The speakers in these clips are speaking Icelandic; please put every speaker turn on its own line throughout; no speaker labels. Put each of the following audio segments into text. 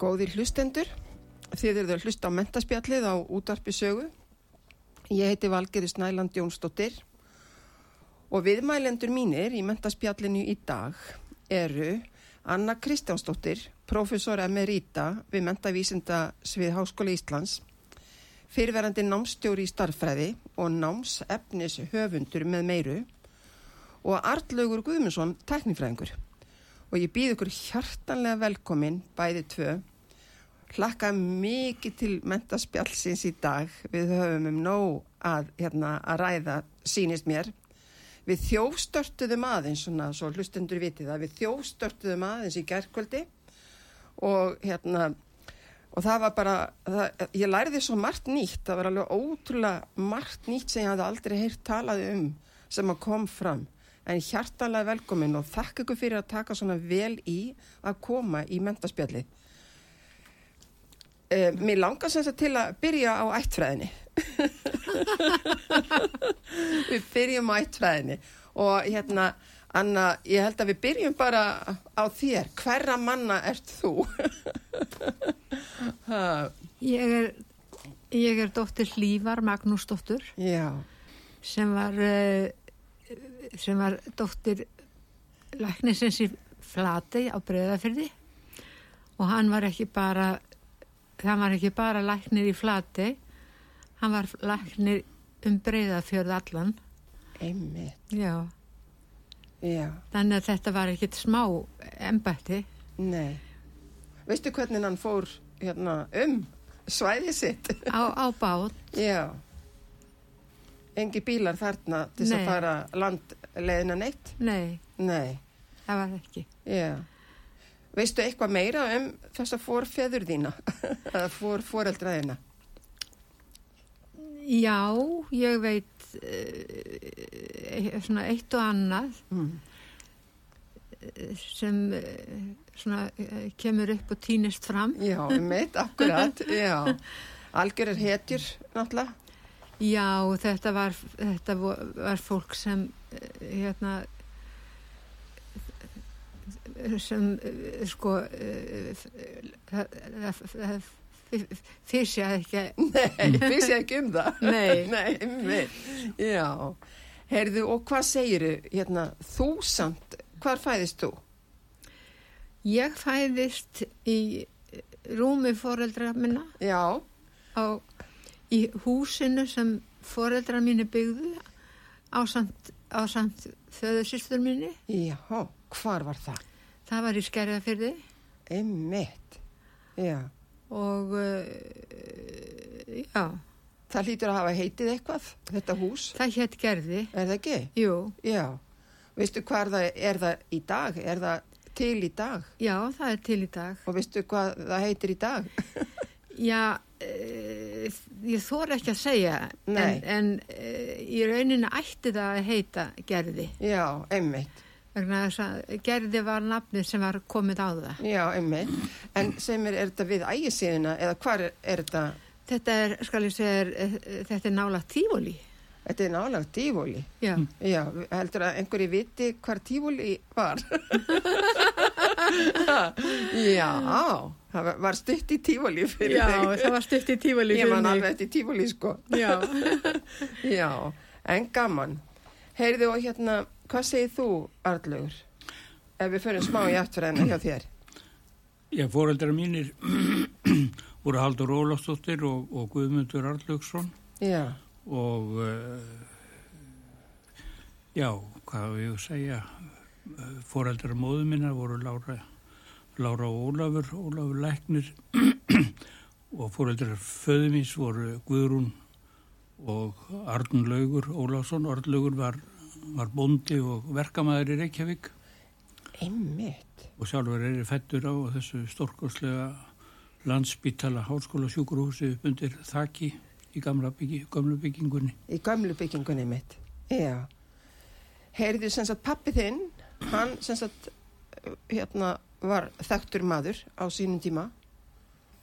Góðir hlustendur, þið eruð að hlusta á mentaspjallið á útarpi sögu. Ég heiti Valgeri Snæland Jónsdóttir og viðmælendur mínir í mentaspjallinu í dag eru Anna Kristjánsdóttir, professor emerita við mentavísinda svið Háskóla Íslands, fyrirverandi námstjóri í starffræði og námsefnis höfundur með meiru og Artlaugur Guðmundsson, teknifræðingur. Og ég býð ykkur hjartanlega velkomin bæði tvö hlakka mikið til mentaspjallsins í dag. Við höfum um nóg að, hérna, að ræða sínist mér. Við þjófstörtuðum aðeins, svona, svo hlustendur vitið að við þjófstörtuðum aðeins í gerkvöldi og hérna, og það var bara, það, ég læriði svo margt nýtt, það var alveg ótrúlega margt nýtt sem ég hafði aldrei heyrt talað um sem að kom fram. En hjartalega velkomin og þakk ykkur fyrir að taka svona vel í að koma í mentaspjallið. Uh, mér langar sem sagt til að byrja á ættfræðinni. við byrjum á ættfræðinni og hérna, Anna, ég held að við byrjum bara á þér. Hverra manna ert þú? Ha,
Ég er, ég er dóttir Hlífar Magnúsdóttur
Já,
sem var, eh, sem var dóttir læknisins í Flatey á Breiðafyrði og hann var ekki bara, hann var ekki bara læknir í Flatey, hann var læknir um Breiðafjörð allan.
einmitt,
Já,
já,
þannig að þetta var ekkit smá embætti.
nei. Veistu hvernig hann fór hérna um svæðið sitt?
Á, á bát,
já. Engi bílar þarna til þess að
Nei.
fara landleiðina neitt?
nei,
Nei.
það var ekki.
Já. Veistu eitthvað meira um þessa fórfjöður þína? Eða fór, fóreldra þína?
Já, ég veit uh, svona eitt og annað
Mm.
eh, sem uh, svona uh, kemur upp og týnist fram.
Já, mitt, akkurat, já. Algjör er hetjur, náttúrulega.
Já, þetta var, þetta vo- var fólk sem eh, hérna sem eh, sko eh, það- það- það- það fysjaði ekki
Nei, við séum ekki um það.
Nei.
Nei, mitt, já. Heyrðu, og hvað segiru, hérna, þú samt, hvar fæðist þú?
ég fæðist í rúmi foreldra minna
Já,
á, í húsinu sem foreldrar mínu byggðu á samt, á samt föðursýstur mínu.
já, hvar var það?
Það var í Skerðafyrði
Einmitt, já.
og uh, já,
Það hlýtur að hafa heitið eitthvað, þetta hús,
það hétt Gerði.
er það ekki?
Jú,
Já. Veistu hvað það er það í dag? Er það til í dag?
já, það er til í dag.
Og veistu hvað það heitir í dag?
Já, uh, ég þor ekki að segja
Nei.
en, en uh, í rauninu ætti það að heita Gerði.
Já, einmitt.
Vegna þess að Gerði var nafnið sem var komið á það.
Já, einmitt. En sem er, er þetta við ægisíðuna eða hvar er, er þetta?
Þetta er, skal ég segja, þér, eh, eh, þetta er nála tífóli.
Þetta er nálega tífóli.
Já.
Já, heldur að einhverji viti hvar tífóli var? Já, Það var- var stutt í tífali fyrir
Já,
þig.
það var stutt í tífali
Ég
fyrir
man
mig.
alveg þetta í tífali sko.
Já,
Já, en gaman. Heyrðu og hérna, hvað segir þú, Arlaugur? Ef við förum smá í aftræðina hjá þér.
Já, fóreldrar mínir voru Haldur Ólafsdóttir og, og Guðmundur Arlaugsson
Já,
og uh, já, hvað við að segja, Eh, fóreldrar móðu minna voru Lára, Lára og Ólafur, Ólafur Læknir og fóreldrar föðumins voru Guðrún og Arnun Laugur Ólafsson. Arnun Laugur var, var bondi og verkamæður í Reykjavík
einmitt.
og sjálfur er ég fættur á þessu stórkoslega landsbytala háskóla sjúkurhúsi upp undir þaki í gamla byggi, gamla byggingunni.
Í gömlu byggingunni mitt. Já. Heyrðu sem sagt pappi þinn, hann sem sagt hérna var þekktur maður á sínum tíma.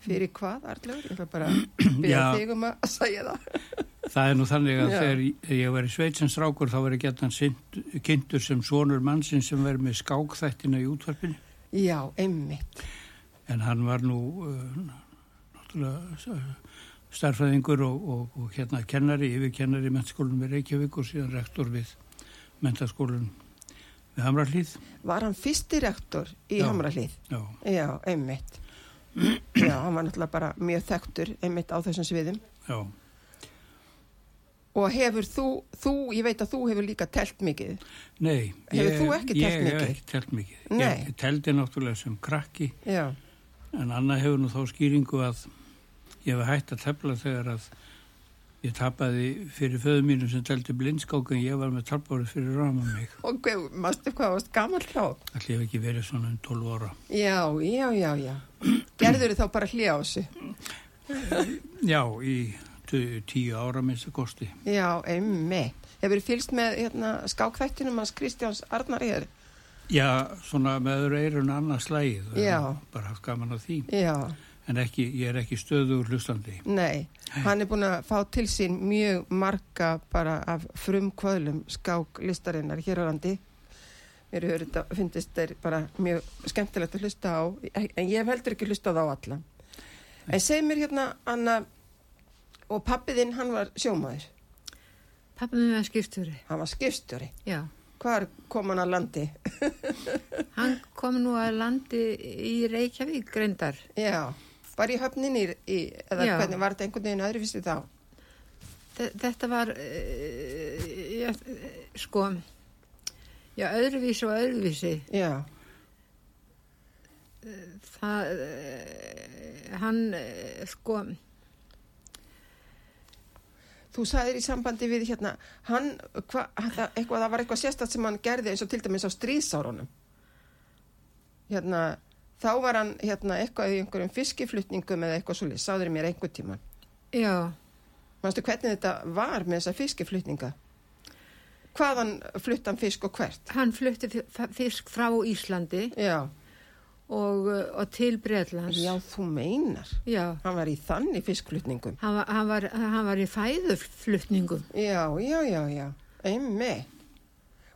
Fyrir hvað, Arlaugur? Ég ætla bara að byrja
Já.
þig um að segja það.
Það er nú þannig að
Já.
þegar ég- ég var í Sveitsins rákur þá var ég getan sint- kynntur sem sonur mannsinn sem verið með skákþættina í útvarpinu
Já, einmitt.
en hann var nú uh, náttúrulega s- starfræðingur og, og, og hérna kennari, yfirkennari í mentaskólanum í Reykjavík og síðan rektor við mentaskólanum við Hamrallíð.
Var hann fyrsti rektor í
Já.
Hamrahlíð?
Já.
Já, einmitt. Já, hann var náttúrulega bara mjög þekktur einmitt á þessum sviðum.
Já.
Og hefur þú, þú, ég veit að þú hefur líka telt mikið.
Nei.
Hefur
ég-
þú ekki telt
Ég
mikið?
hef ekki telt mikið.
Nei.
Ég teldi náttúrulega sem krakki
Já,
en annað hefur nú þá skýringu að ég hef hægt að tefla þegar að ég tapaði fyrir föðu mínum sem teldi blindskák en ég var með talbárið fyrir rama mig.
og hvað, mástu hvað varst gammal þá?
Allir hef ekki verið svona um 12 ára.
Já, já, já, já. Gerður þá bara hlið á þessu?
Já, í tu- tíu ára minnstu kosti.
Já, einmitt. Hefur fylgst með hérna, skákþættinum hans Kristjáns Arnar hér?
Já, svona meður eirun annað slægið. og
Já.
Bara haft gaman að því.
Já,
En ekki, ég er ekki stöðugur hlustandi.
nei. Hann er búin að fá til sín mjög marga bara af frumkvöðlum skáklistarinnar hér á landi. Mér hefur þetta, finnst þeir bara mjög skemmtilegt að hlusta á, en ég hef heldur ekki hlustað á alla. En seg mér hérna, Anna, og pappiðinn, hann var sjómaður,
Pappi minn var skiptúri,
hann var skipstjóri.
já.
Hvar kom hann að landi?
Hann kom nú að landi í Reykjavík, greindar.
Já, bara í höfninni í, eða
Já.
hvernig var þetta einhvern veginn öðruvísi þá?
Þe- Þetta var, uh, já, eh, sko, já, öðruvísi og öðruvísi.
Já,
Það, uh, hann, uh, sko,
þú sagðir í sambandi við hérna, hann, hva, það, eitthvað, það var eitthvað sérstætt sem hann gerði eins og til dæmis á stríðsárunum. Hérna, þá var hann hérna eitthvað í einhverjum fiskiflutningum eða eitthvað svolítið, sáður mér einhver tíman.
já,
Manstu hvernig þetta var með þessa fiskiflutninga? Hvaðan flutt hann fisk og hvert?
hann flutti fi- fa- fisk frá Íslandi
Já,
og, eh, og til Breitlands.
já, þú meinar.
Já,
Hann var í þannig fiskflutningum.
hann var, hann var, hann var í fæðuflutningum.
Já, já, já, já, einmitt.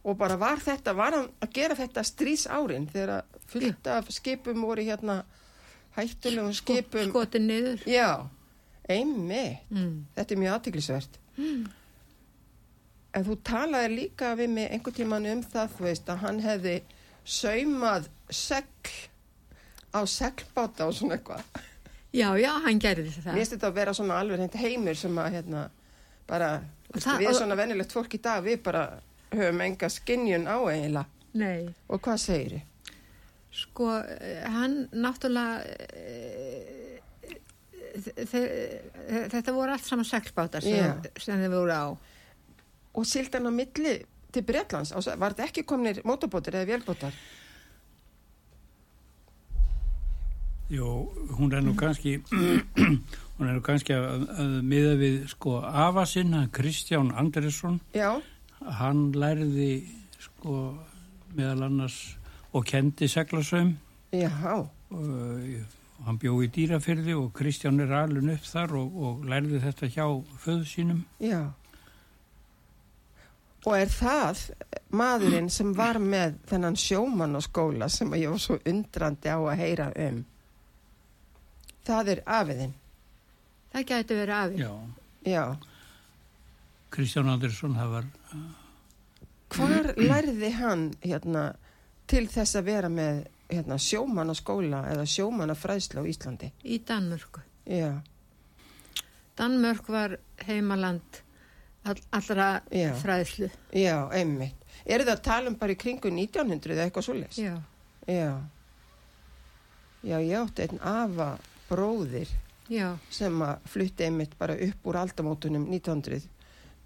Og bara var þetta, var hann að gera þetta strís árin þegar að fullt af skipum voru hérna hættulegum
Sko,
skipum.
skotin niður.
Já, einmitt.
Mm.
Þetta er mjög aðtiklisvert. Mm. En þú talaði líka við mig einhvern tíman um það, þú veist, að hann hefði saumað segl á seglbáta og svona eitthvað.
Já, já, hann gerði
Mér
það.
finnst þetta að vera svona alveg hreint heimur sem að hérna bara,
Og
veistu,
það-
við
og-
svona venjulegt fólk í dag, við bara höfum enga skinjun á eiginlega.
Nei,
Og hvað segir þið?
sko, eh, hann náttúrulega, eh, þe- þe- þetta voru allt saman seglbátar sem,
Já.
sem þeir voru á.
Og sildan á milli til Bretlands, á, var þetta ekki komnir mótorbótar eða vélbótar?
Jó, hún er nú kannski hún er nú kannski að, að miða við sko afa sinn, hann Kristján Andresson
Já,
hann lærði sko meðal annars og kendi seglasaum
já,
og, og hann bjó í dýrafyrði og Kristján er alun upp þar og, og lærði þetta hjá föðu sínum
já. Og er það maðurinn sem var með þennan sjómann á skóla sem að ég var svo undrandi á að heyra um? Það er afiðin.
Það gæti verið afi.
Já,
Já.
Kristján Andersson, það var,
Hvar lærði hann hérna til þess að vera með hérna sjómannaskóla eða sjómannafræðsla á Íslandi?
Í Danmörku.
Já,
Danmörk var heimaland all, allra
Já.
fræðslu.
já, einmitt. Er það að tala um bara í kringu 1900 eða eitthvað svoleiðs?
Já.
Já. Já, ég átti einn afa bróðir
Já.
sem að flutti einmitt bara upp úr aldamótunum 1900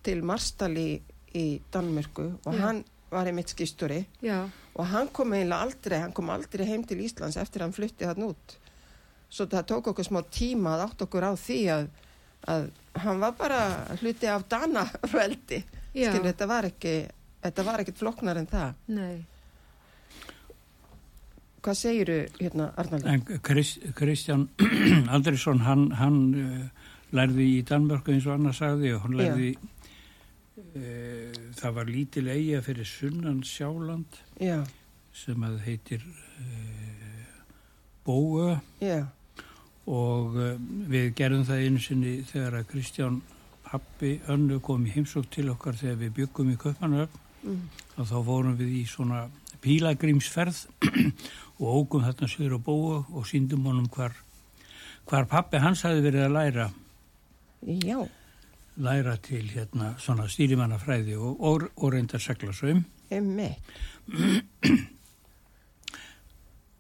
til Marstali í Danmörku og
Já.
hann var einmitt skýsturi
Já.
og hann kom eiginlega aldrei, hann kom aldrei heim til Íslands eftir að hann flutti þann út. Svo það tók okkur smá tíma að átt okkur á því að, að hann var bara hluti af Danaveldi.
Já.
Skilur, þetta var ekki, þetta var ekkit floknar en það.
Nei.
Hvað segiru hérna, Arnaldur?
en Krist, Kristján Andersson, hann, hann uh, lærði í Danmörku eins og annars sagði og hann
Já.
lærði, uh, það var lítil eiga fyrir sunnan sjáland
Já,
sem að heitir uh, Bóa
já,
og uh, við gerðum það einu sinni þegar að Kristján Pappi önnu kom í heimsók til okkar þegar við byggum í Kaupanöfn
Mm.
og þá fórum við í svona pílagrímsferð og ókum þarna söður á bóa og síndum honum hvar, hvar pappi hans hafi verið að læra
já,
læra til hérna svona stýrimannafræði og, og, og reyndar seglasum
einmitt.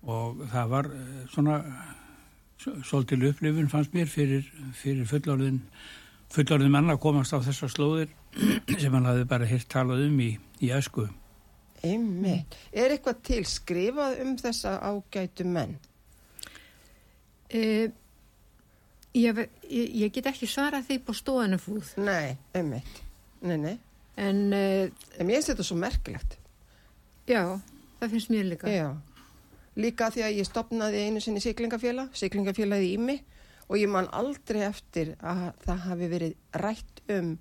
og það var eh, svona s- svolítil upplifun fannst mér fyrir, fyrir fullorðin fullorðin menn að komast á þessar slóðir sem hann hafði bara hirt talað um í, í æsku.
Einmitt. Er eitthvað til skrifað um þessa ágætu menn?
E, ég, ve- ég, ég get ekki svarað því på stóðanum fúð.
Nei, einmitt. Nei, nei.
En e,
En mér finnst þetta svo merkilegt.
já, það finnst mér líka.
Já. Líka því að ég stopnaði einu sinni siglingafélag, siglingafélagið í mig og ég man aldrei eftir að það hafi verið rætt um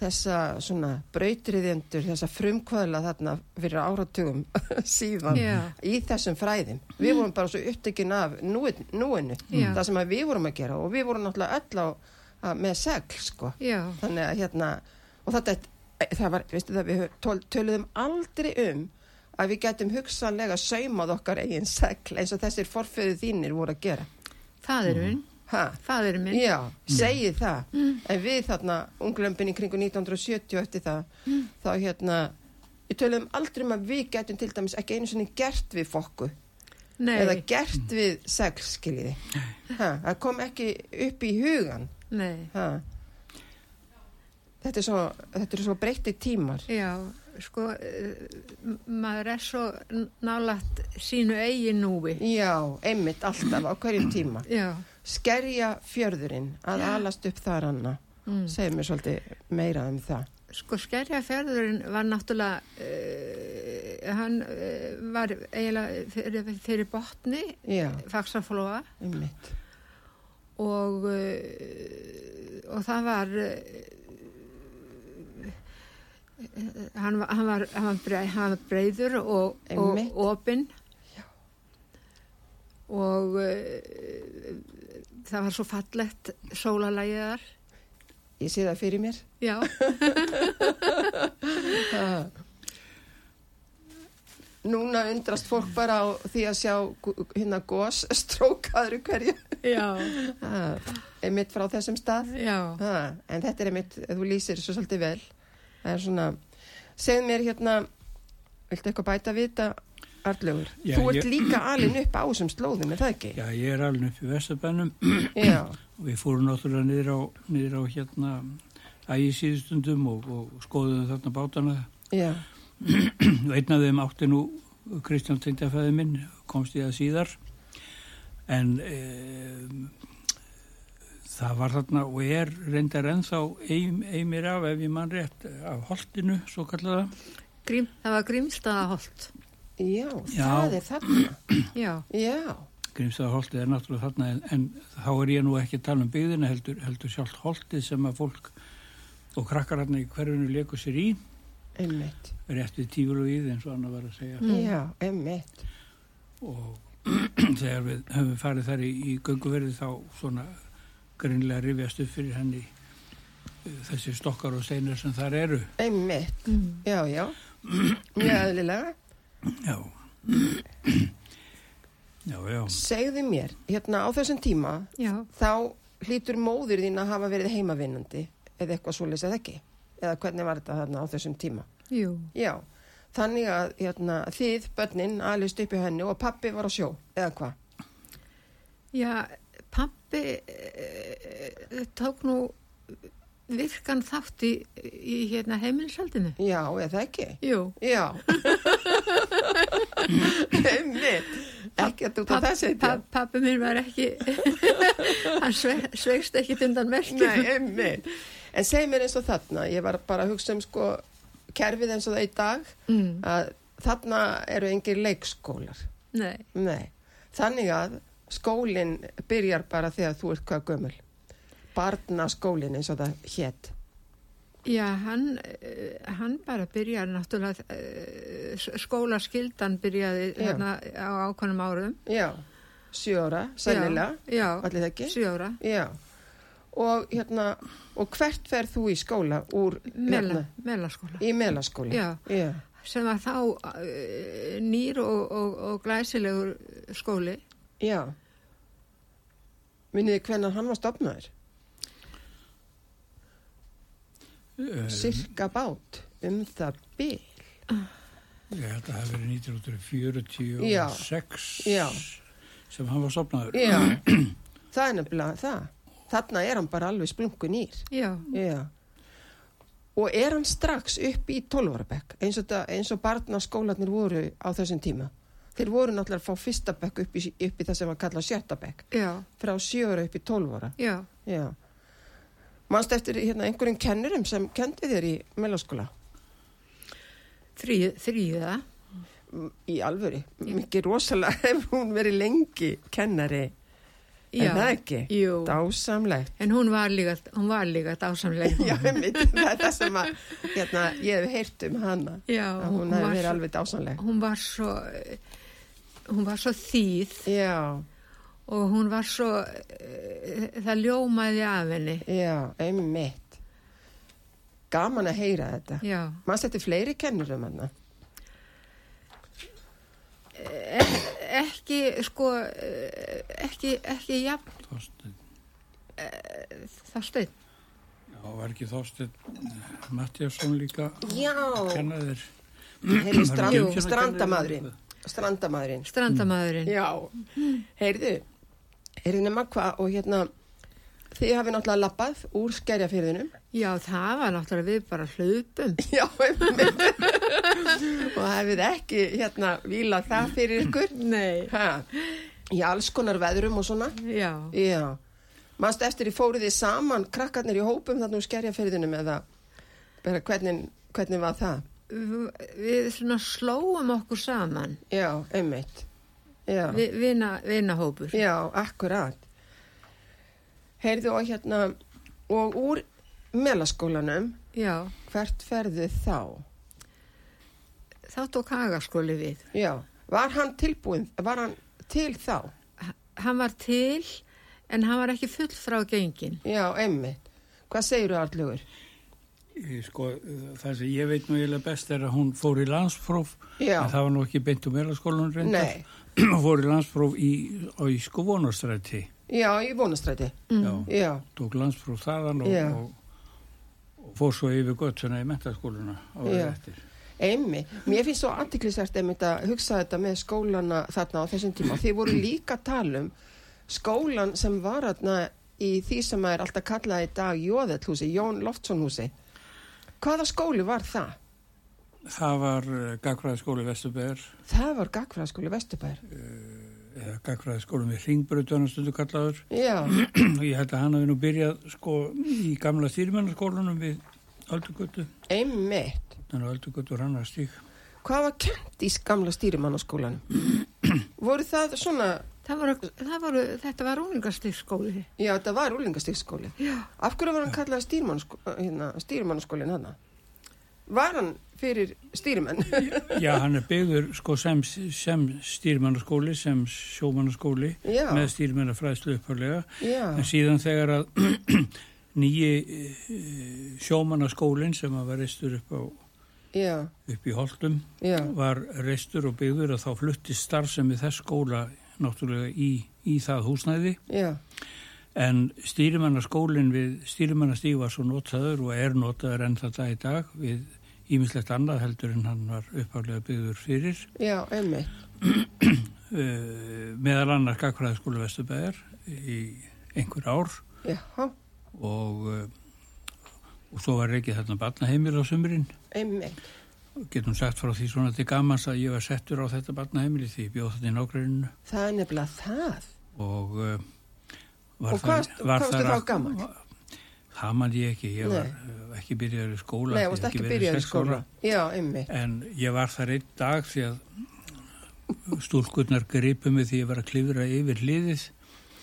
þessa svona brautriðendur, þessa frumkvöðla þarna fyrir áratugum síðan
Já.
í þessum fræðum. Við vorum bara svo upptekin af núin, núinu,
Já.
það sem að við vorum að gera og við vorum náttúrulega öll á, að, með segl sko.
Já.
þannig að hérna og þetta, e, það var, veistu það við töl- töluðum aldrei um að við getum hugsanlega saumað okkar eigin segl eins og þessir forföðu þínir voru að gera
Faðurinn, minn,
ha,
faðurinn minn.
já, segi það en við þarna, unglömpin í kringu 1970 og eftir það, þá hérna við töluðum aldrei um að við getum til dæmis ekki einu sinni gert við fokku
Nei,
eða gert við segl, skiljiði ha, það kom ekki upp í hugan
nei.
Ha. Þetta er svo, þetta er svo breytti tímar.
Já, sko, eh, m- maður er svo n- nálægt sínu eigin núi.
Já, einmitt alltaf á hverjum tíma.
Já,
Skerja fjörðurinn að alast upp þar anna.
mm.
Segðu mér svolítið meira um það.
sko skerjafjörðurinn var náttúrulega, uh, hann uh, var eiginlega fyrir, fyrir botni,
Já,
faksaflóa
einmitt.
og, uh, og það var, uh, hann, var- hann, var, hann, var breið, hann var breiður og, og
Einmitt.
opinn og uh, það var svo fallett sólalægiðar,
Ég sé það fyrir mér.
já.
Ha. Núna undrast fólk bara á því að sjá gu- hérna gos strókaður í hverju.
Já,
Ha. Einmitt frá þessum stað.
já,
Ha, en þetta er einmitt, þú lýsir svo svolítið vel. Það er svona, segð mér hérna, viltu eitthvað bæta við þetta, Arlögur?
Já,
þú ert
ég-
líka alin upp á þessum slóðum, er það ekki?
Já, ég er alveg upp í Vestabænum
Já,
og við fórum náttúrulega niður á, niður á hérna ægisíðstundum og, og skoðum þarna bátana
já,
og einn af þeim átti nú Kristján Tengdafæði minn, komst ég að síðar en e, það var þarna og er reyndar ennþá ein- einir af ef ég mann rétt af holtinu, svo kallaða
Grím, það var grímstaðaholt,
já,
Já.
það er þarna.
já,
Já,
Grímsstaða er náttúrulega þarna en, en þá er ég nú ekki að tala um byggðina heldur, heldur sjálft holtið sem að fólk og krakkar hann í hverjunu leku sér í
einmitt.
rétt við tífur og íð eins og annar var að segja
Mm.
Já, einmitt.
og þegar við höfum farið þar í, í gönguverði þá svona greinlega rifjast upp fyrir henni eh, þessi stokkar og steinar sem þar eru.
Einmitt,
Mm.
já, já, mjög aðlilega.
Já. Já, já.
Segðu mér, hérna á þessum tíma,
Já,
þá hlýtur móður þín að hafa verið heimavinnandi eða eitthvað svoleiðis eða ekki. Eða hvernig var þetta þarna á þessum tíma?
jú,
Já, þannig að hérna, þið, börnin, alist upp í henni og pappi var á sjó, eða hvað?
já, pappi eh, tók nú virkan þátt í, í hérna heimilisaldinu.
Já, eða ekki?
Jú,
Já. Einmitt, ekkert út af
Papp-
þessi þetta.
papp- Pappi minn var ekki, hann sve, svegst ekki undan merkjum.
Nei, einmitt. En segi mér eins og þarna, ég var bara að hugsa um sko kerfið eins og það í dag,
Mm,
að þarna eru engir leikskólar.
nei,
Nei, þannig að skólinn byrjar bara þegar þú ert hvað gömul. Barnaskólinn eins og það hétt.
já, hann, eh, hann bara byrjaði náttúrulega, eh, s- skólaskyldan byrjaði
Já.
hérna á ákvæmum árum.
Já, sjóra, sennilega,
Já, já,
allir það ekki?
sjóra.
Já. Og hérna, og hvert fer þú í skóla úr, hérna,
Mela, melaskóla.
í melaskóla?
Já.
Já,
sem var þá eh, nýr og, og, og glæsilegur skóli.
já. Minniði hvernig hann var stopnaður?
Eh,
Sirka bát, um það bygg.
Ég held að það hafi verið 1946
Já. Já.
sem hann var sopnaður.
Já, það er nefnilega það. Þarna er hann bara alveg splunkun ír.
Já,
Já. Og er hann strax upp í 12 ára bekk eins og, það- eins og barnaskólanir voru á þessum tíma? Þeir voru náttúrulega að fá fyrsta bekk upp í, upp í það sem var kallað sjötta bekk
já,
frá 7 ára upp í 12 ára.
já.
Já. Manst eftir hérna, einhverjum kennurum sem kendi þér í melaskóla?
Þrý- Þrýða,
M- Í alvöru,
Mm.
mikið rosalega hefur hún verið lengi kennari,
já.
er það ekki?
Jú,
Dásamlegt.
en hún var líka, hún var líka dásamleg.
Já, einmitt, það er það sem að, hérna, ég hef heyrt um hana,
Já,
að hún hefur
var
verið
svo,
alveg dásamleg.
hún var svo, eh, hún var svo þýð
Já,
og hún var svo, eh, það ljómaði af henni.
já, einmitt. Gaman að heyra þetta.
Já,
Manst þetta fleiri kennurum hann?
ekki, sko, eh, ekki, ekki jafn,
Þorsteinn.
það steinn.
Mm.
Já, var ekki Þorsteinn Mattiasson líka
Já,
kennaðir.
heyrðu
Var hann
strand,
ekki umsjónarkennari?
strandamaðurinn. Strandamaðurinn.
Strandamaðurinn.
Já, heyrðu, heyrðu nema hvað og hérna, þið hafi náttúrulega lappað úr skerjafyrðinum.
Já, það var náttúrulega við bara hlupum.
Já, einmitt. og hafið ekki hérna vílað það fyrir ykkur.
Nei.
Ha, í alls konar veðrum og svona.
Já,
Já, mannst eftir í fóruð þið saman krakkarnir í hópum þarna úr skerjafyrðinum eða bara hvernig, hvernig var það?
v- við svona slóum okkur saman,
Já, einmitt. Já,
Vi, vina, vinahópur.
já akkurat. Heyrðu og hérna, og úr melaskólanum,
Já,
hvert ferðu þá?
þá tók Hagaskóli við.
Já, var hann tilbúin, var hann til þá?
H hann var til, en hann var ekki full frá gengin.
Já, einmitt. Hvað segirðu, Arlugur?
Ég, Sko, eh, það sem ég veit nú eiginlega best er að hún fór í landspróf.
Já.
en Það var nú ekki beint um melaskólanum reyndar.
Nei,
Hún fór í landspróf í, á Ísku vonastræti.
já, í vonastræti.
Já.
Já,
Tók landspróf þaðan og,
Mm. Já.
og, og fór svo yfir göttuna í mentaskóluna árið
Já.
eftir.
Einmi, mér finnst svo aðtiklisvert einmitt að hugsa þetta með skólana þarna á þessum tíma. Þið voru líka að tala um skólan sem var þarna í því sem er alltaf kallað í dag Jóðellhúsi, Jón Loftssonhúsi. Hvaða skóli var það?
Það var eh, Gagfræðaskóli Vesturbæðar
Það var Gagfræðaskóli Vesturbær.
eða Gagfræðaskóli með Ringbröðuna stundu kallaður
Já,
og ég held að hann hafi nú byrjað sko í gamla stýrimannaskólanum við Öldugötu,
einmitt.
þannig að Öldugötu rann að stík.
Hvað var kent í gamla stýrimannaskólanum? voru það svona,
Það voru, það voru, þetta var rúningastyrskóli.
já þetta var úlingastíksskóli.
Já.
Af hverju var hann kallað stýrimannaskólinn hérna, stýrimannaskólinn uh, þarna? Var hann fyrir stýrimenn?
Já, hann er byggður sko sem, sem stýrmannaskóli, sem sjómannaskóli
Já.
með stýrmannafræðslu upphörlega.
Já,
En síðan þegar að nýji sjómannaskólinn sem að var reistur upp, á,
já,
upp í Holtum
já,
var reistur og byggður að þá fluttist starfsemi þess skóla náttúrulega í, í það húsnæði
já,
en stýrimannaskólinn við stýrimannastíg var svo notaður og er notaður enn þetta í dag við ímislegt annað heldur en hann var upphaflega byggður fyrir
já, emmi.
uh, meðal annar Gagfræðaskóla Vesturbæðar í einhver ár
Já,
og, uh, og svo var ekki þarna barnaheimil á sumrin
emmi.
getum sagt frá því svona til gamans að ég var settur á þetta barnaheimili því ég bjóð þetta í nágræninu
Það er nefnilega það.
og uh,
Og hvað varst- hvað varstu þá gamall?
Það man ég ekki, ég var
Nei.
uh, ekki byrjaður í skóla.
Nei,
ég
það varst
hafði
ekki
verið
byrjað í
sex
skóla.
ára.
Já, emmi.
En ég var þar einn dag því að stúlkurnar gripu mig því ég var að klifra yfir liðið.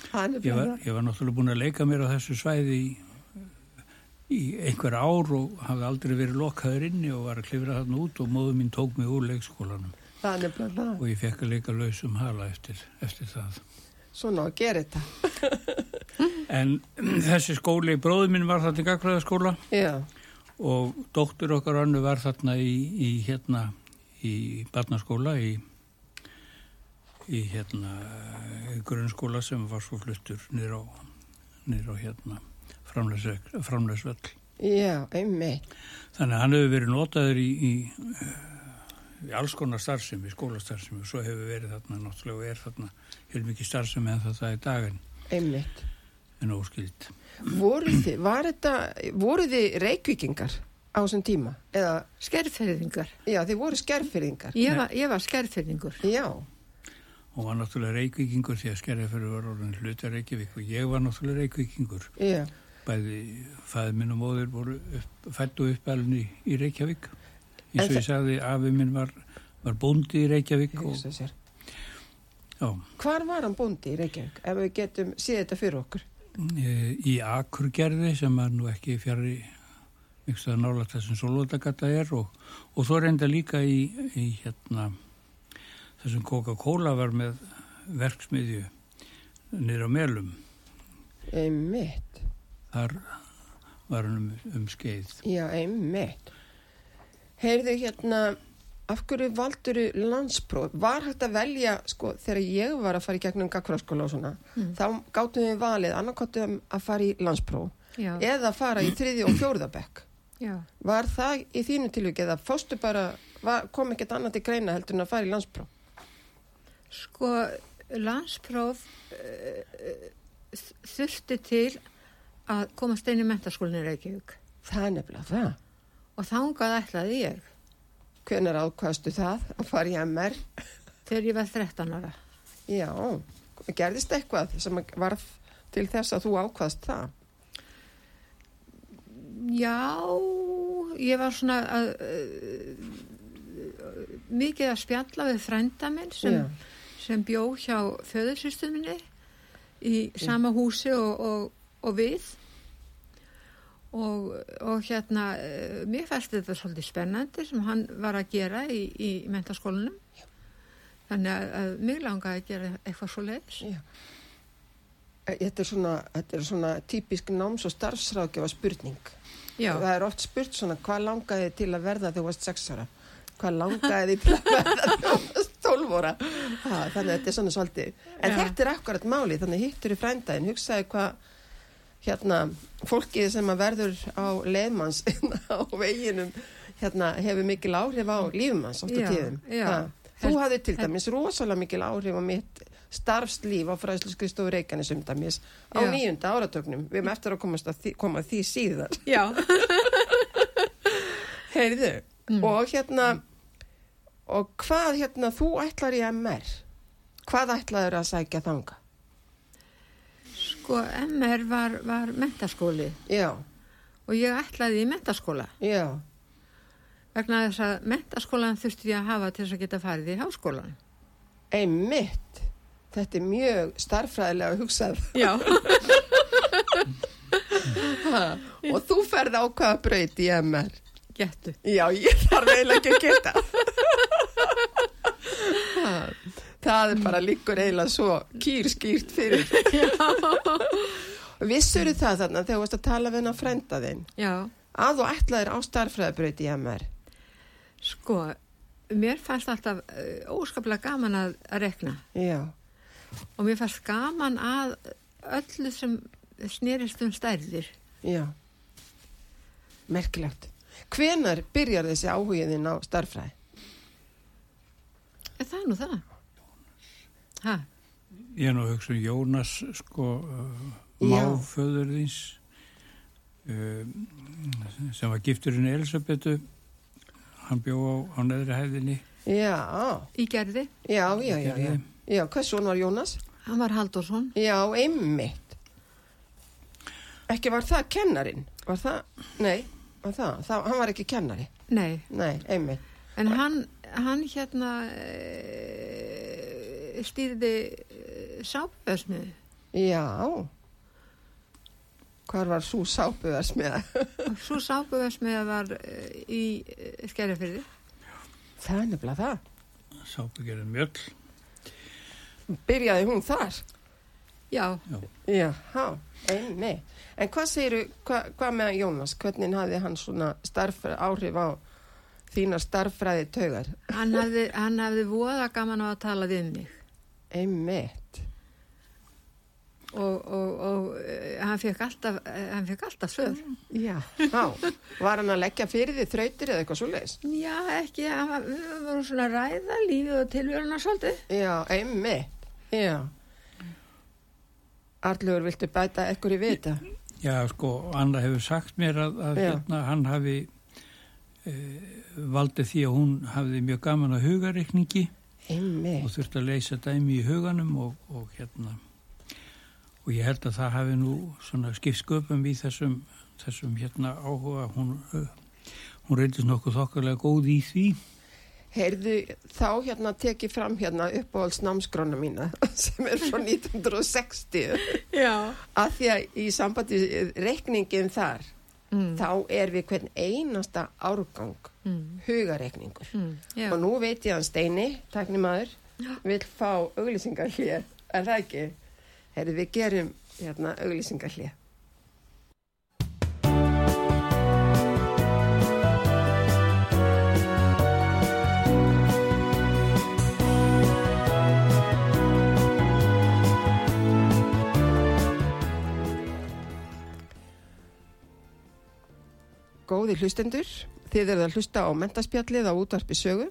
Það er
Ég var,
nefnilega það.
ég var náttúrulega búin að leika mér á þessu svæði í, í einhver ár og hafði aldrei verið lokaður inni og var að klifra þarna út og móðu mín tók mig úr leikskólanum
Það er nefnilega það.
og ég fekk að leika lausum hala eftir, eftir það.
Svona á að gera þetta.
En þessi skóli, bróður minn var þarna í gagfræðaskóla
Já,
og dóttur okkar annu var þarna í, í hérna í barnaskóla í, í hérna í grunnskóla sem var svo fluttur niður á, niður á hérna framlegsvöll. framlegsvöll.
já, emmi.
Þannig að hann hefur verið notaður í, í, í alls konar starfsemi, skólastarfsemi og svo hefur verið þarna náttúrulega og er þarna heilmikið starfsemi en þetta er daginn
Emmi.
en óskild.
Voru þið, var þetta, voru þið reykvíkingar á þessum tíma? Eða,
Skerfyrðingar.
já, þið voru skerfyrðingar.
Ég var, ég var skerfyrðingur.
Já,
Hún var náttúrulega reykvíkingur því að skerðafyrir var orðin hluta Reykjavík og ég var náttúrulega reykvíkingur.
já.
Bæði fæði minn og móður voru upp, fætt og uppalinn í, í Reykjavík. Eins
En
og ég sagði, afi minn var, var bóndi í Reykjavík
Ég
og
hugsa sér.
já,
Hvar var hann bóndi í Reykjavík ef við getum séð þetta fyrir okkur?
e, í Akurgerði sem var nú ekki fjari mikstuða nála þessum Sólótagata er og, og svo reynda líka í, í hérna þessum Coca-Cola var með verksmiðju niður á Melum.
Einmitt,
Þar var hann um, um skeið.
já einmitt. Heyrðu hérna, af hverju valduru landspróf? Var hægt að velja, sko, þegar ég var að fara í gegnum gagfræðskóla og svona, þá gáttum við valið annarkottum að fara í landspróf
Já,
eða fara í þriði og fjórðabekk.
já.
Var það í þínu tilvík eða fórstu bara, var, kom ekkert annað til greina heldur en að fara í landspróf?
Sko, landspróf uh, þurfti til að komast inn í mentaskólinni Reykjavík
Það er nefnilega það.
og þangað ætlaði ég
Hvenær ákvastu það að fara í MR?
þegar ég var 13 ára.
Já, gerðist eitthvað sem varð til þess að þú ákvaðst það?
Já, ég var svona að, uh, mikið að spjalla við frænda minn sem,
Já.
sem bjó hjá föðursýstum minni í sama húsi og, og, og við og, og hérna, uh, mér fæst þetta svolítið spennandi sem hann var að gera í, í mentaskólanum. Þannig að, að mig langaði að gera eitthvað svo leiðis.
Já. Þetta er svona, þetta er svona típisk náms- og starfsráðgjöfa spurning.
Já,
Það er oft spurt svona, hvað langaði þið til að verða þegar þú varst sex ára? Hvað langaði þið til að verða þegar þú varst 12 ára? Ha, þannig að þetta er svona svolítið. En
Já.
þetta er akkurat máli, þannig hittur í frændaðin, hugsaði hvað hérna, fólkið sem að verður á leiðmanns á veginum hérna, hefur mikil áhrif á lífmanns oft á
Já,
tíðum.
já.
Ha, Þú
Held-
hafði til
held-
dæmis rosalega mikil áhrif á mitt starfslíf á fræðslu skristofu Reykjanes um dæmis á
Já.
nýjunda áratögnum. Við erum eftir að komast að því, koma að því síðar.
já,
Heyrðu, og hérna, og hvað hérna, þú ætlar í MR, hvað ætlaður að sækja þanga?
sko, MR var, var mentaskólið.
Já,
og ég ætlaði í mentaskóla
já,
vegna þess að mentaskólan þurfti ég að hafa til þess að geta farið í háskólan.
einmitt, þetta er mjög starffræðilega hugsað
Já.
og þú ferð ákvaða braut í MR.
gettu.
Já, ég þarf eiginlega ekki að geta. það er bara líkur eiginlega svo kýrskýrt fyrir. Vissur það þarna þegar þú varst að tala við hennar frænda þinn
Já,
að þú ætlaðir á starfræðabraut í MR.
sko, mér fannst alltaf eh, óskaplega gaman að, að rekna
Já,
og mér fannst gaman að öllu sem snerist um stærðir.
já. Merkilegt. Hvenar byrjar þessi áhugiðin á starfræði?
Er það nú það? Hæ,
Ég er nú að hugsa um Jónas, sko, uh,
Já.
máföður þins, uh, sem var gifturinn Elisabetu, hann bjó á, á neðri hæðinni.
Já,
í gerði,
já, já, já, já. Já, hvað svona var Jónas?
hann var Haldursson.
Já, einmitt. Ekki var það kennarin? Var það? Nei, var það? það hann var ekki kennari.
Nei,
Nei, einmitt.
en hann, hann hérna e, stýrði e, sápöðsmiðu.
Já. Hvar var svo sápuversmiða?
Og svo sápöðsmiða var e, í e, skerjafyrði.
það er nefnilega það.
Sápugerðin Mjöll,
Byrjaði hún þar?
Já,
Já, há, einmitt. En hvað segiru, hva, hvað með Jónas? Hvernig hafði hann svona starf, áhrif á þínar starffræði taugar?
hann hafði, hann hafði voða gaman á að tala við mig
Einmitt.
og, og, og eh, hann fekk alltaf, eh, hann fekk alltaf svör.
Já. Há, var hann að leggja fyrir því þrautir eða eitthvað svo
Já, ekki, hann var, við vorum svona að ræða lífið og tilveruna svolítið.
Já, einmitt. Já. Arlur, viltu bæta ekkur í vita?
já, sko, Anna hefur sagt mér að, að
Já.
hérna, hann hafi e, valdið því að hún hafði mjög gaman að hugarreikningi og
Einmitt.
þurfti að leysa dæmi í huganum og, og hérna og ég held að það hafi nú svona skipt sköpum í þessum, þessum hérna áhuga hún, uh, hún reyndist nokkuð þokkarlega góð í því
Heyrðu, þá hérna tekið fram hérna uppáhalds námskrána mína sem er frá 1960
Já.
að því að í sambandi reikningin þar,
Mm.
þá er við hvern einasta árgang
Mm.
hugareikningur.
Mm. Já.
Og nú veit ég hann Steini, tæknimaður, vil fá auglýsingar hlið, er það ekki? Heyrðu, við gerum hérna auglýsingar hlið. Góði hlustendur, þið eruð að hlusta á mentaspjallið á útvarpi sögu.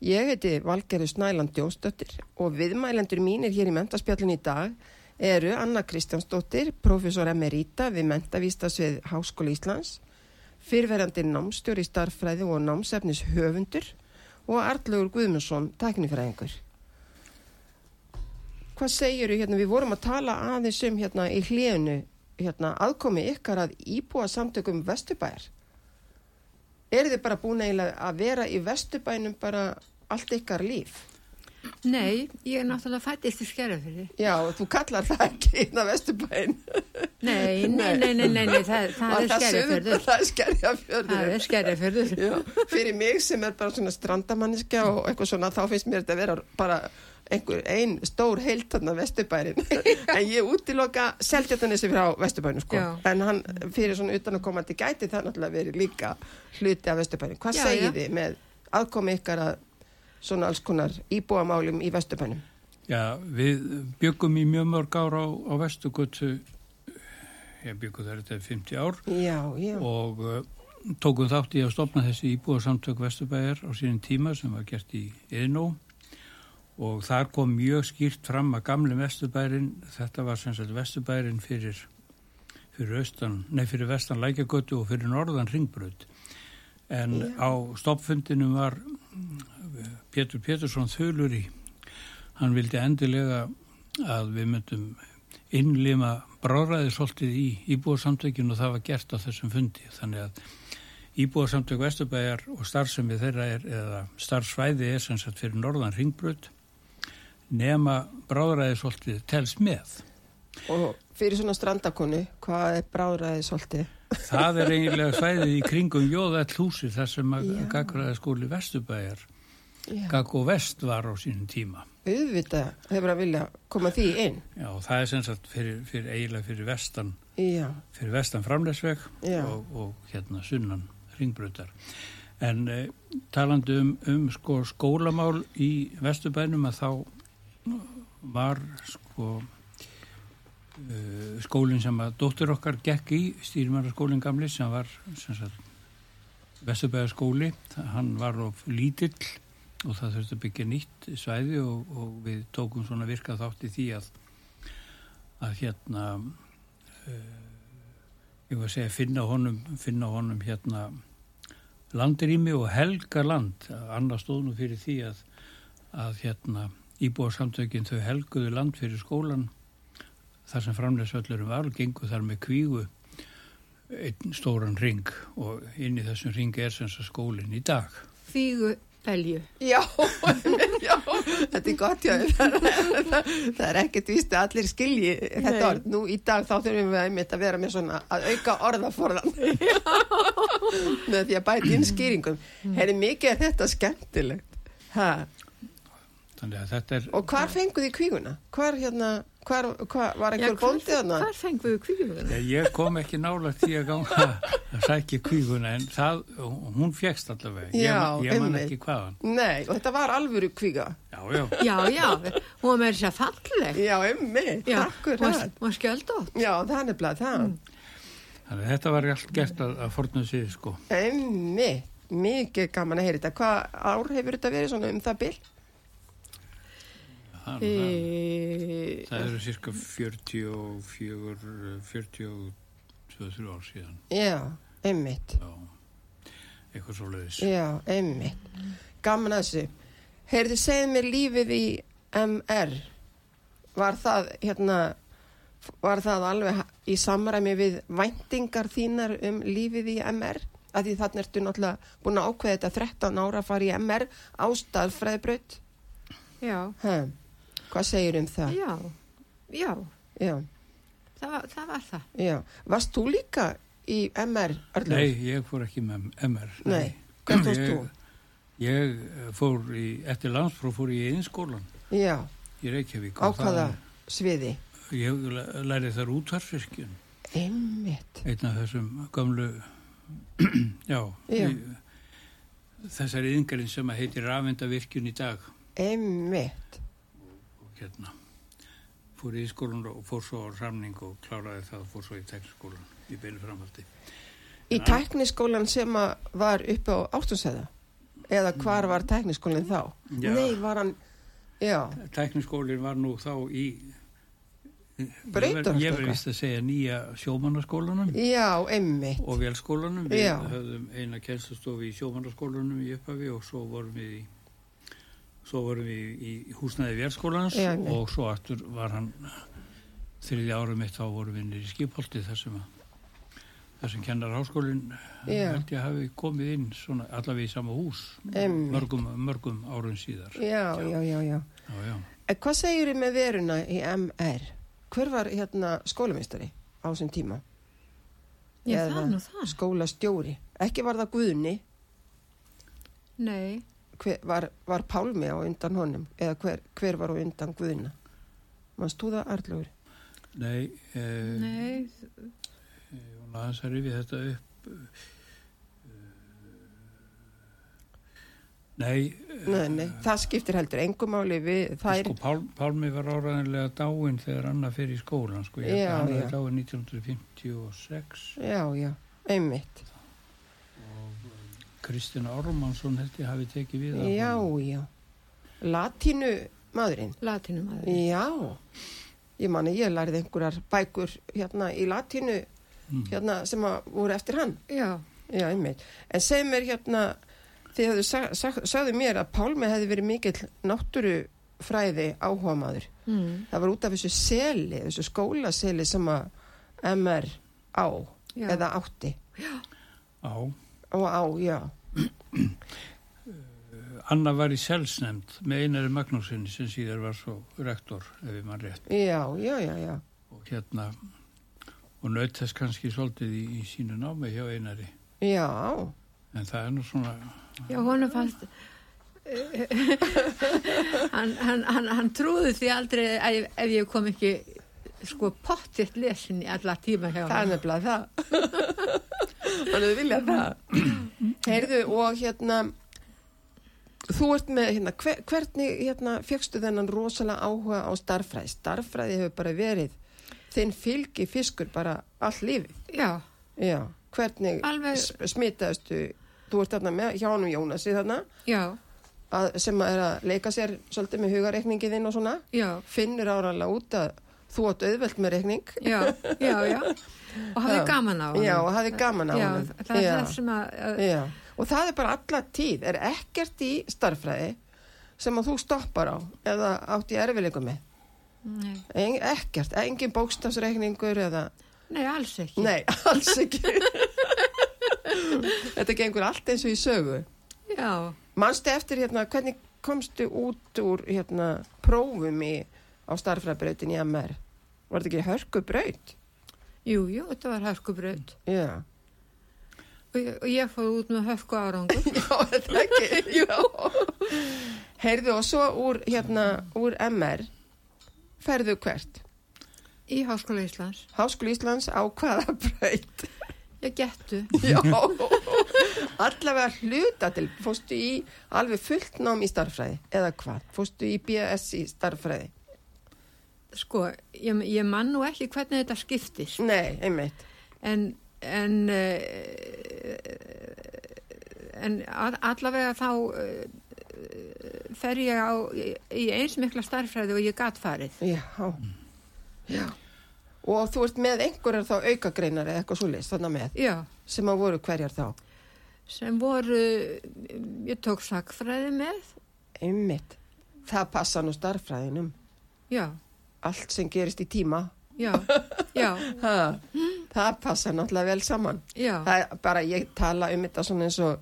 Ég heiti Valgerður Snæland Jónsdóttir og viðmælendur mínir hér í mentaspjallin í dag eru Anna Kristjánsdóttir, professor emerita við mentavístasvið Háskóli Íslands, fyrverandi námstjóri í starffræði og námsefnis höfundur og Arlaugur Guðmundsson, teknifræðingur. Hvað segiru hérna, við vorum að tala aðeins um hérna í hliðinu hérna aðkomi ykkar að íbúa samtökum Vesturbæjar. Eru þið bara búin eiginlega að vera í Vesturbænum bara allt ykkar líf?
Nei, ég er náttúrulega fættist í skerjafyrði.
Já, þú kallar það ekki hérna Vesturbæn.
Nei, nei, nei, nei, nei, nei það, það er skerjafyrður.
Það er skerjafjörður.
Það er skerjafyrður.
Já, fyrir mig sem er bara svona strandamanniska og eitthvað svona þá finnst mér þetta vera bara einhver ein stór heilt þarna vesturbærin en ég útiloka seltjartanessi frá vesturbærin sko
Já.
en hann fyrir svona utan að koma til gæti það náttúrulega verið líka hluti af vesturbærin hvað
Já,
segið
já.
þið með aðkomi ykkar að svona alls konar íbúamálum í vesturbænum
já, við byggum í mjög mörg ára á, á vestugutu ég byggum þar þetta í 50 ár
já, já,
og uh, tókum þátt í að stopna þessi íbúðarsamtök Vesturbæjar á sínum tíma sem var gert í Eðnó og þar kom mjög skýrt fram að gamli Vesturbærin, þetta var sem sagt Vesturbærin fyrir, fyrir, austan, nei, fyrir vestan Lækjagötu og fyrir norðan Ringbröð en á stoppfundinu var mm, Pétur Pétursson Þöluri, hann vildi endilega að við myndum innlima bráðræði svolítið í íbúarsamtökinu og það var gert á þessum fundi þannig að íbúarsamtök Vesturbæjar og starfsemi þeirra er eða starfsvæði er sem sagt fyrir norðan ringbrut nema bráðræði svolítið tels með
og fyrir svona strandakonu hvað er bráðræði svolítið
Það er eiginlega svæðið í kringum Jóðall húsi þar sem að
Já.
Gagfræðaskóli Vesturbæjar
Já,
Gaggo Vest var á sínum tíma.
auðvitað hefur að vilja koma því inn.
Já, og það er sem sagt fyrir, fyrir eiginlega fyrir vestan,
Já,
fyrir vestan framlegsveg
Já.
og, og hérna sunnan ringbrötar. En e, talandi um, um sko, skólamál í Vesturbænum að þá var sko eh, skólinn sem að dóttir okkar gekk í, stýrimæraskólinn gamli sem var sem sagt Vesturbæðaskóli, hann var of lítill og það þurfti að byggja nýtt svæði og, og við tókum svona virka þátt í því að að hérna uh, ég var að segja finna honum, finna honum hérna landrými og helga land annars stóð nú fyrir því að að hérna íbúarsamtökin þau helguðu land fyrir skólan þar sem framleysvöllurum var gengu þar með kvígu einn stóran ring og inn í þessum ring er sem sagt skólinn í dag
Fígu belju.
já, já, þetta er gott, já, það, það er ekkert víst að allir skilji þetta
Nei.
orð. Nú í dag þá þurfum við einmitt að vera með svona að auka orðaforðan með því að bæta inn skýringum. Herri, mikið er þetta skemmtilegt. Ha.
þannig að þetta er
Og hvar fenguð þið kvíguna? Hvar hérna, hvar, hvar var einhver bóndið þarna?
Hvað fengum við kvíðum?
Ég- ég kom ekki nála því að ganga að sækja kvíguna en það, hún fjekst allavega ég, man-
Já,
ég man
einmitt.
ekki hvaðan
Nei, og þetta var alvöru kvíga.
já, já,
Já, já, hún var með þess að falleg.
Já, Mm. emmi,
Já,
takkur
hún
það.
var- hún var skjöldótt.
Já, það er nefnilega það.
þannig að þetta var allt gert að, að fornum sig sko
Emmi, mikið gaman að heyra þetta. Hvað ár hefur þetta verið svona um það bil?
það, það,
E...
það eru cirka 44 42-3 ár síðan
Já, emmitt.
Já, eitthvað svo leiðis.
Já, emmitt. Gaman að þessu. Heyrðu, segð mér lífið í MR. Var það, hérna, var það alveg ha- í samræmi við væntingar þínar um lífið í MR? Að því þarna ertu náttúrulega búin að ákveða þetta 13 ára að fara í MR ástæðfræðbraut.
Já,
Ha, hvað segir um það?
já, já,
Já,
það, var- það var það.
já. Varst þú líka í MR, Arlur?
Nei, ég fór ekki með MR.
Nei, hvernig fórst
Ég-
þú?
Ég eh, fór í, eftir landspróf fór ég í einskólan
Já,
í Reykjavík.
á
og
hvaða
þaðan-
sviði?
Ég læ- lærið þar útvarfiskin,
Einmitt.
einn af þessum gömlu, já,
Já.
í- þessari yngarinn sem að heitir rafendavirkjun í dag.
Einmitt.
Og hérna, fór í skólan og fór svo á ramning og kláraði það og fór svo í tekniskólan í beinu framhaldi.
Í
Já.
tækniskólan sem að var upp á ástúnsæða? Eða hvar var tækniskólinn þá?
Já.
Nei, var hann... Já,
Tekniskólinn var nú þá í
Breytar
Ég
þetta
verði vist að segja nýja sjómannaskólanum
já, einmitt.
og velskólanum. Við
Já.
höfðum eina kennslustofu í sjómannaskólanum í upphafi og svo vorum við í svo vorum við í húsnaði velskólans
Já, einmitt.
og svo aftur var hann þriði árum mitt þá vorum við niður í skipholti þar sem að þar sem kennar háskólinn
Já.
held ég hafi komið inn svona allavega í sama hús
Einmitt.
mörgum, mörgum árum síðar
Já, já, já, já.
Já, já.
En hvað segir þið með veruna í MR? Hver var hérna skólamistari á þessum tíma?
Já,
Eða
það er nú það.
Skólastjóri. Ekki var það Guðni,
Nei,
hver, var, var Pálmi á undan honum eða hver, hver var á undan Guðna mannst þú það Arlur?
Nei, eh,
nei,
Ég var aðeins að rifja þetta upp. Eh, Nei,
Nei, nei, það skiptir heldur engum máli við það er,
sko, Pál, Pálmi var áræðinlega dáinn þegar Anna fer í skólan, sko. Ég held
Já,
að hann
já.
er dáinn 1956
já, já, einmitt
og Kristina Ormansson held ég hafi tekið við af
já,
honum.
já latínu maðurinn
latinum aðeins.
já, ég manni ég lærði einhverjar bækur hérna í latínu
Mm.
hérna sem að voru eftir hann
Já,
já, einmitt, en seg mér hérna þið höfðu sag, sag, sagðu mér að Pálmi hefði verið mikill náttúrufræði áhuga maður
mm,
það var út af þessu seli, þessu skólaseli sem að MR á
já.
eða átti
Já,
og á, já,
Anna var í selsnefnd með einari Magnúsinni sem síðar var svo rektor, ef ég mann rétt.
já, já, já, já.
og hérna og nautast kannski svolítið í, í sínu námi hjá einari.
Já,
En það er nú svona,
Já, honum fannst hann, hann, hann, hann trúði því aldrei að ég- ef ég kom ekki sko pottitt lesin í alla tíma hjá
það er
hann.
nefnilega það. Þannig við vilja það. Heyrðu, og hérna, þú ert með, hérna, hver, hvernig, hérna, fegstu þennan rosalega áhuga á starffræði? Starffræði hefur bara verið, þinn fylgi fiskur bara all lífið.
Já,
Já, hvernig
Alveg-
Alveg... smitaðustu, þú ert þarna með, hjá honum Jónasi þarna,
já,
að, sem að er að leika sér svolítið með hugareikningið þinn og svona,
já,
finnur áraðlega út að þú átt auðvelt með reikning.
já, já, já. Og hafði
Já.
gaman á hann.
Já, og hafði gaman á
já,
honum.
það er
Já.
það sem að, að
Já, og það er bara alla tíð, er ekkert í starffræði sem að þú stoppar á eða átt í erfileikum með.
nei,
Eng, ekkert, engin bókstafsreikningur eða,
nei, alls ekki.
nei, alls ekki. Þetta gengur allt eins og í sögu.
Já,
Manstu eftir hérna, hvernig komstu út úr hérna prófum í, á starffræðbrautin í MR? Var þetta ekki hörkubraut?
jú, jú, þetta var hörkubraut.
Já.
Og ég, og ég fór út með hörku árangur.
Já, þetta ekki, já. Heyrðu og svo úr, hérna, úr MR, ferðu hvert?
Í Háskóla Íslands.
Háskóli Íslands á hvaða braut?
Ég gettu.
Já, allavega hluta til, fórstu í alveg fullt nám í starffræði, eða hvað? Fórstu í BS í starffræði?
Sko, ég, ég man nú ekki hvernig þetta skiptist.
Nei, einmitt.
en en eh, en að- allavega þá eh, fer ég á í í eins mikla starffræði og ég gat farið
Já, já. Og þú ert með einhverjar þá aukagreinar eða eitthvað svo list, þannig með,
já,
sem að voru hverjar þá?
sem voru ég tók sakfræði með
Einmitt. Það passa nú starffræðinum.
já,
allt sem gerist í tíma
já, já,
ha, það passa náttúrulega vel saman
já
það er bara ég tala um þetta svona eins og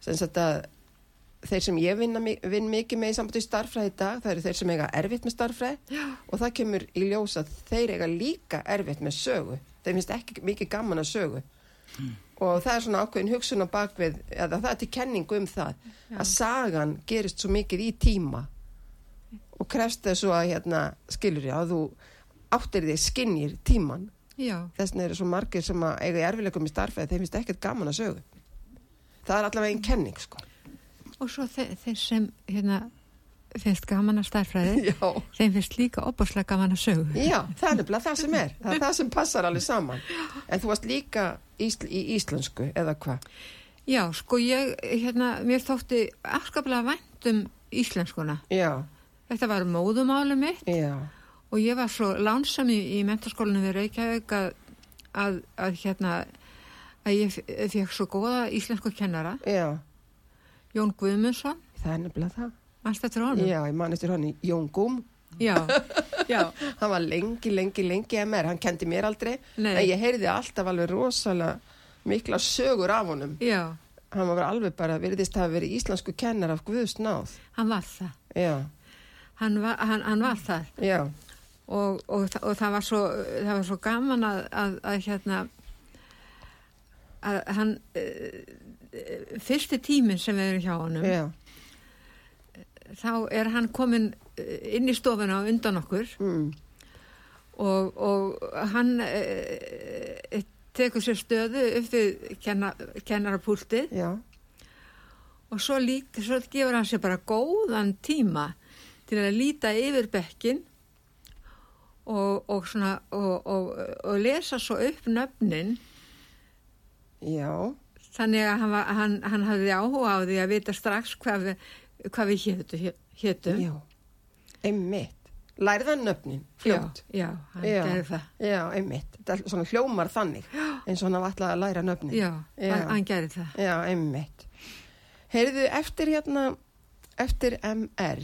sem sagt að þeir sem ég vinna, mi- vinn mikið með í sambandi starffræði í dag, það eru þeir sem eiga erfitt með starffræði
Já.
og það kemur í ljós að þeir eiga líka erfitt með sögu þeir finnst ekki mikið gaman að sögu
Hmm.
og það er svona ákveðin hugsun á bakvið eða það er til kenningu um það að sagan gerist svo mikið í tíma og krefst þess svo að hérna skilur ég að þú áttir þig skinnir tíman
já,
þess vegna eru svo margir sem að eiga í erfileikum í starfið þeim finnst ekkert gaman að sögu það er allavega einn kenning sko
og svo þe þeir sem hérna finnst gaman að starffræði
já,
þeim finnst líka opaslega gaman að sögu
já það er nefnilega það sem er það er það sem passar alveg saman en þú varst líka ísl í íslensku eða hvað
já, sko ég, hérna, mér þótti afskaplega vænt um íslenskuna
já,
þetta var móðumáli mitt
já,
Og ég var svo lánsam í, í mentaskólinu við Reykjavík að, að, að hérna að ég fekk svo góða íslensku kennara
já
Jón Guðmundsson,
það er nefnilega það
mannst eftir honum
já, ég man eftir hann í Jón Gúm
já, já,
hann var lengi, lengi, lengi MR hann kendi mér aldrei
Nei.
en ég heyrði alltaf alveg rosalega mikla sögur af honum
já,
hann var alveg bara, virðist hafa verið íslensku kennar af Guðsnáð
hann var það
já,
hann var, hann, hann var það
já
og, og, þa- og það var svo það var svo gaman að, að, að hérna að hann uh, fyrsti tíminn sem við erum hjá honum
Já,
þá er hann komin eh, inn í stofuna á undan okkur
mm,
og, og hann e, e, tekur sér stöðu upp við kenna, kennarapúltið
já,
og svo, lít, svo gefur hann sér bara góðan tíma til að líta yfir bekkin og, og, svona, og, og, og lesa svo upp nöfnin
já,
þannig að hann, var, hann, hann hafði áhuga á því að vita strax hvað við, hvað við hétu, hétum.
já, einmitt. Lærðan nöfnin, fljótt.
Já, já, hann
Já.
gerði það.
Já, einmitt. Þetta er svona hljómar þannig, eins og hann var alltaf að læra nöfnin.
Já,
Já.
Hann, hann gerði það.
Já, einmitt. Heyrðu, eftir hérna, eftir MR,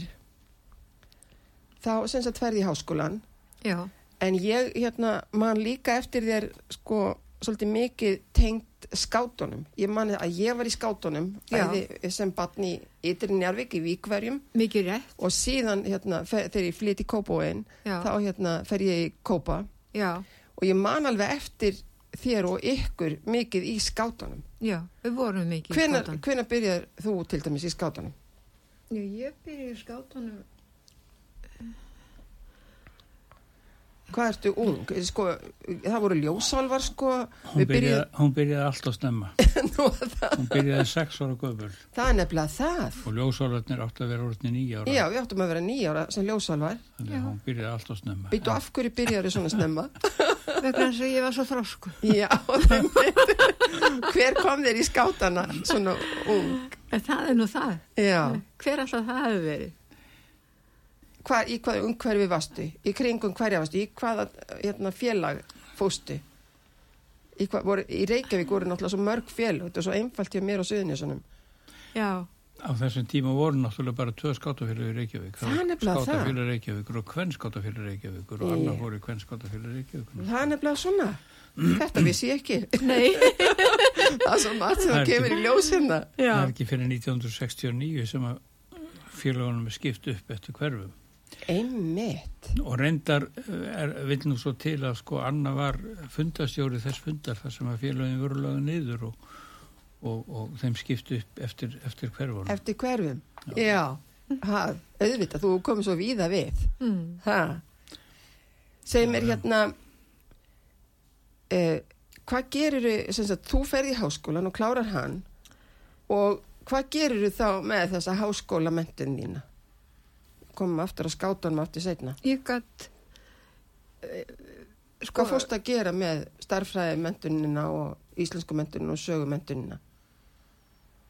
þá sem sagt ferði í háskólan,
Já,
en ég hérna man líka eftir þér sko svolítið mikið tengt skátunum. Ég mani að ég var í skátunum,
Já.
bæði sem barn í Ytri Njarvik í Víkverjum
mikið rétt.
og síðan hérna, fer, þegar ég flyt í Kópóin
Já.
þá hérna, fer ég í Kópa
Já,
og ég man alveg eftir þér og ykkur mikið í skátunum.
Já, við vorum mikið
Hvenær,
í skátunum.
hvenær byrjar þú til dæmis í skátunum?
Já, ég byrja í skátunum.
Hvað ertu ung? Sko, það voru ljósálvar sko.
Hún
Við
byrjaði, hún byrjaði alltaf snemma.
Nú, það,
Hún byrjaði sex ára gömul
það er nefnilega það.
og ljósárarnir átti að vera orðinni nýja ára.
Já, við áttum að vera nýjára sem ljósálvar.
Þannig að hún byrjaði alltaf snemma.
Býtu af hverju byrjar svona snemma?
Vegna þess að ég var svo þrósku.
Já, einmitt. hver kom þér í skátana svona ung?
En það er nú það.
Já,
Hver alltaf það hefur verið?
Hva, í hvað umhverfi varstu? Í kringum hverja varstu? Í hvaða hérna, félag fóstu? Í, hvað, voru, í Reykjavík voru náttúrulega svo mörg fél þetta er svo einfalt hjá mér og söðunjösunum
Já,
Á þessum tíma voru náttúrulega bara tvö skátafélagi í Reykjavík.
Það er nefnilega það.
Skátafélagi Reykjavíkur og kvenn skátafélagi Reykjavíkur og
Já.
annar voru kvenn skátafélagi Reykjavíkur.
það er nefnilega svona þetta vissi ég ekki
nei,
það er svo margt sem
Það
það
er
kemur í ljós hérna
já,
Það er ekki fyrir 1969 sem að félagunum er skipt upp eftir hverfum.
einmitt
Og reyndar eh, er, vil nú svo til að sko Anna var fundastjóri þess fundar þar sem að félagin voru laga niður og, og, og þeim skipt upp eftir, eftir hverfunum.
eftir hverfum já, ha, auðvitað, þú komið svo víða við
mm,
ha. segir mér hérna uh, hvað gerir þú ferð í háskólan og klárar hann og hvað gerir þá með þessa háskólamöntin þína komum aftur að skátanum aftur setna
ég gætt,
Sko, hvað fórst að gera með starffræði mentunina og íslensku mentunina og sögu mentunina?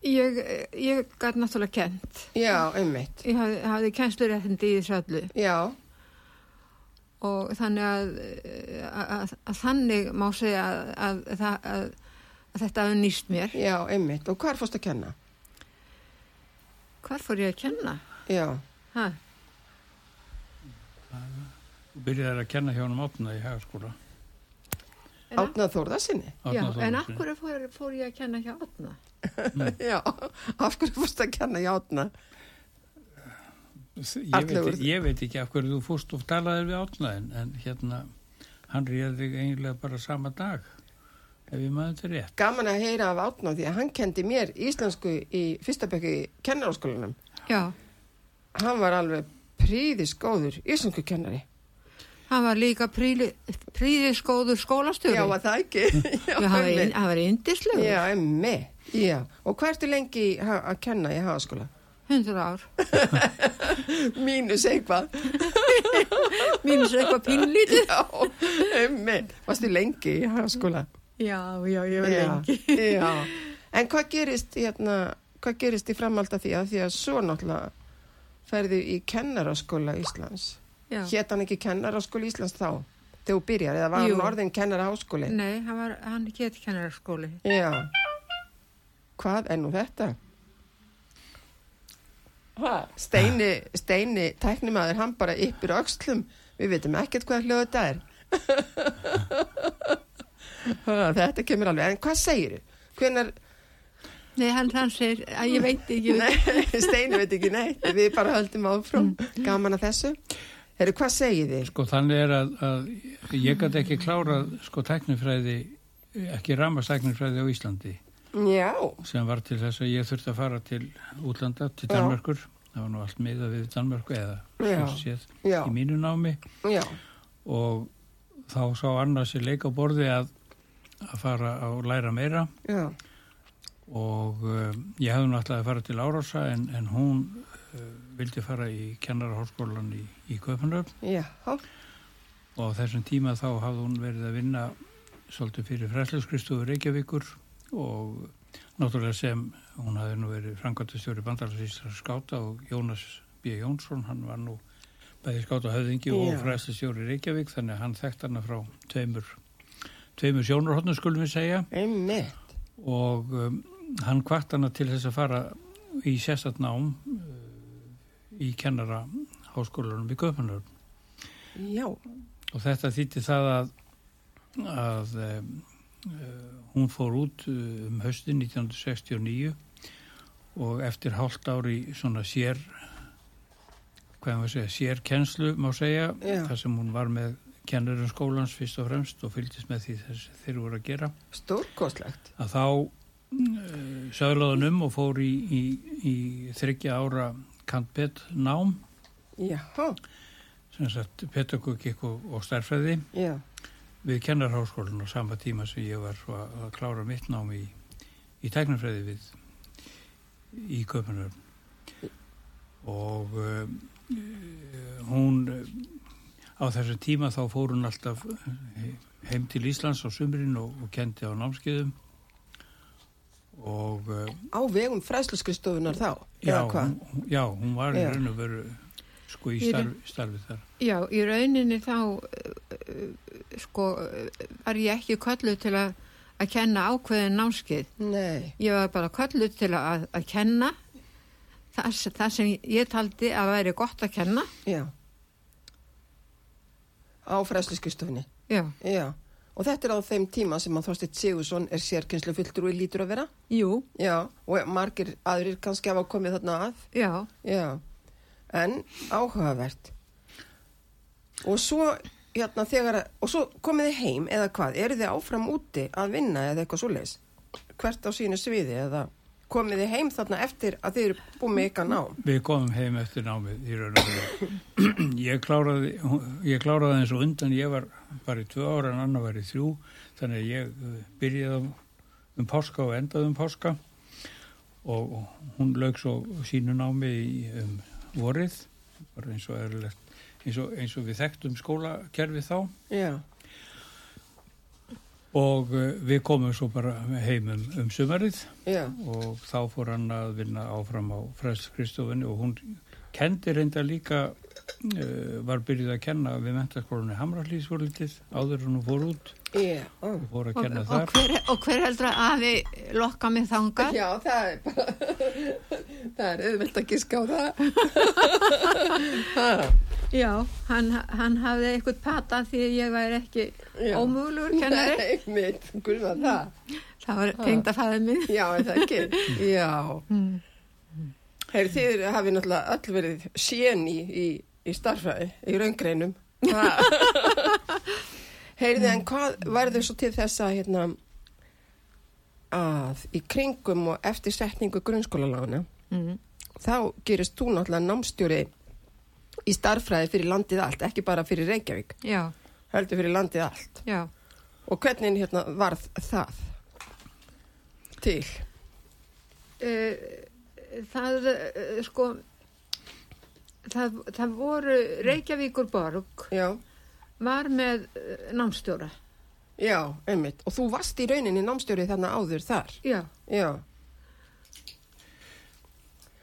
ég, ég gætt náttúrulega kent.
Já, einmitt.
Ég hafði, hafði kennsluréttindi í þessu öllu
Já,
og þannig að, eh, að, að, að þannig má segja að, að, að, að, að þetta hafi nýst mér.
já, einmitt. Og hvað fórst að kenna?
Hvar fór ég að kenna?
Já,
Ha?
Og byrjaði að kenna hjá hann átna í hagaskóla.
En að-
átnað þórðarsinni.
Já, en af hverju fór, fór ég að kenna hjá Otna?
Já, af hverju fórst að kenna í átna?
Ég veit,
Allir voru-
ég veit ekki af hverju þú fórst og talaðir við átna en, en hérna, hann réði þig eiginlega bara sama dag ef ég maður þetta rétt.
Gaman að heyra af átnað því að hann kendi mér íslensku í fyrsta bekki í kennarháskólanum.
Já,
Hann var alveg príðisgóður íslensku kennari.
hann var líka príli, príðiskóður skólastjóri.
Já, var það ekki?
Já, hann var,
einmitt.
ein, hann var indislegur,
Já, einmitt. Já, og hvað ertu lengi í ha- að kenna í hagaskóla?
100 ár.
Mínus eitthvað.
Mínus eitthvað pínlítið.
Já, einmitt. Varstu lengi í hagaskóla?
Já, já, ég var lengi.
Já. En hvað gerist, hérna, hvað gerist í framhald af því að því að svo náttúrulega ferði í kennaraskóla Íslands?
Já.
Hétt hann ekki kennaraskóla Íslands þá? Þegar þú byrjar, eða var
Jú.
hann orðin kennaraháskóli?
Nei, hann, var, hann get kennararskóli.
Já. Hvað er nú þetta? Hva? Steini, steini, tæknimaður, hann bara yppir öxlum. Við veitum ekkert hvað hljóð þetta er. Ha, þetta kemur alveg. En hvað segir þú? Hvenar,
Nei, hann, hann segir að ég veit ekki.
Nei, Steini veit ekki neitt, við bara höldum áfram, gaman að þessu. Herru, hvað segið þið?
Sko þannig er að, að ég gæti ekki klárað sko teknifræði, ekki ramastæknifræði á Íslandi
Já,
sem var til þess að ég þurfti að fara til útlanda, til
Já.
Danmörkur. Það var nú allt miða við Danmörku eða
Já.
svo séð
Já.
í mínu námi
já,
og þá sá annars í leik á borði að, að fara að læra meira
já,
og um, ég hefði náttúrulega að fara til Árása en, en hún uh, vildi fara í kennarháskólan í, í Köpenröf
já,
og á þessum tíma þá hafði hún verið að vinna svolítið fyrir fræsluskristofu Reykjavíkur og náttúrulega sem hún hafði nú verið framkvæmtastjóri bandalarsýslar skáta og Jónas B. Jónsson, hann var nú bæði skáta höfðingi
Já.
og fræslustjóri Reykjavík þannig að hann þekkt hana frá tveimur, tveimur sjónurhóttnum skulum við segja
einmitt,
og um, hann kvart hana til þess að fara í sérstætt nám uh, í kennara háskólanum í Köpunur
já,
og þetta þýtti það að, að um, uh, hún fór út uh, um höstin 1969 og eftir hálft ári svona sér hvað maður segja, sér kennslu má segja
Já.
þar sem hún var með kennarum skólans fyrst og fremst og fylgist með því þess þeir voru að gera
Stórkoslegt.
að þá uh, söglaðan um og fór í, í, í þryggja ára kantbett nám
Já,
sem sagt petagogik og, og stærfræði
já,
við kennarháskólan á sama tíma sem ég var svo að að klára mitt nám í, í tæknarfræði við í köpunar og um, eh, hún eh, á þessu tíma þá fór hún alltaf eh, heim til Íslands á sumrin og, og kendi á námskeiðum og eh,
á vegum fræsluskristofunar þá.
já,
eða hvað?
hún, já, hún var í
Já.
raun og veru sko í
Í
starf,
raun-
starfi þar
Já, í rauninni þá uh, uh, sko uh, var ég ekki kölluð til að, að kenna ákveðin námskeið.
Nei,
Ég var bara kölluð til að, að kenna það, s- það sem ég taldi að væri gott að kenna.
já. Á fræsluskristofunni,
Já,
já. Og þetta er á þeim tíma sem að Þorsteinn Sigursson er sérkynslu fulltrúi lítur að vera.
jú,
Já, og margir aðrir kannski hafa komið þarna að.
já,
Já, en áhugavert. Og svo, hérna, þegar, og svo komið þið heim eða hvað, eru þið áfram úti að vinna eða eitthvað svoleiðis? Hvert á sínu sviði eða komið þið heim þarna eftir að þið eru búið með ykkar nám?
Við komum heim eftir námið í raun og veru. Ég kláraði, ég kláraði eins og undan, ég var bara í tvö ára en annar var í þrjú, þannig að ég eh, byrjaði um, um páska og endaði um páska og hún lög svo sínu námi í um, vorið, bara eins og eðlilegt, eins og, eins og við þekktum skólakerfið þá
Já,
og eh, við komum svo bara heim um, um sumarið
já,
og þá fór hann að vinna áfram á Frelskristofinu og hún kendi reynda líka uh, var byrjuð að kenna við mentaskólanum í Hamrallísvörlitið áður en hún fór út
já. ó.
og fór að
og,
kenna
og,
þar
hver, og hver heldur að afi lokka mig þangað?
Já, það er bara, það er auðvelt að giska á það.
Já, hann, hann hafði eitthvað pata því að ég væri ekki
Já.
ómögulegur kennari.
Nei, mitt, gulva það.
Það var tengd að fæða mig.
Já, er það ekki? Já.
Mm.
Heyrðu, þið hafið náttúrulega öll verið sén í, í, í starfræði, í raungreinum. Heyrðu, en hvað verður svo til þess að, hérna, að í kringum og eftir setningu grunnskólalána,
Mm.
þá gerist þú náttúrulega námstjóri í starfræði fyrir landið allt, ekki bara fyrir Reykjavík,
Já,
heldur fyrir landið allt.
já.
Og hvernig hérna varð það til?
Eh, það, eh, sko, það, það voru Reykjavíkur Borg
Já,
var með eh, námstjóra.
já, einmitt. Og þú varst í rauninni námstjóri þarna áður þar.
Já,
Já.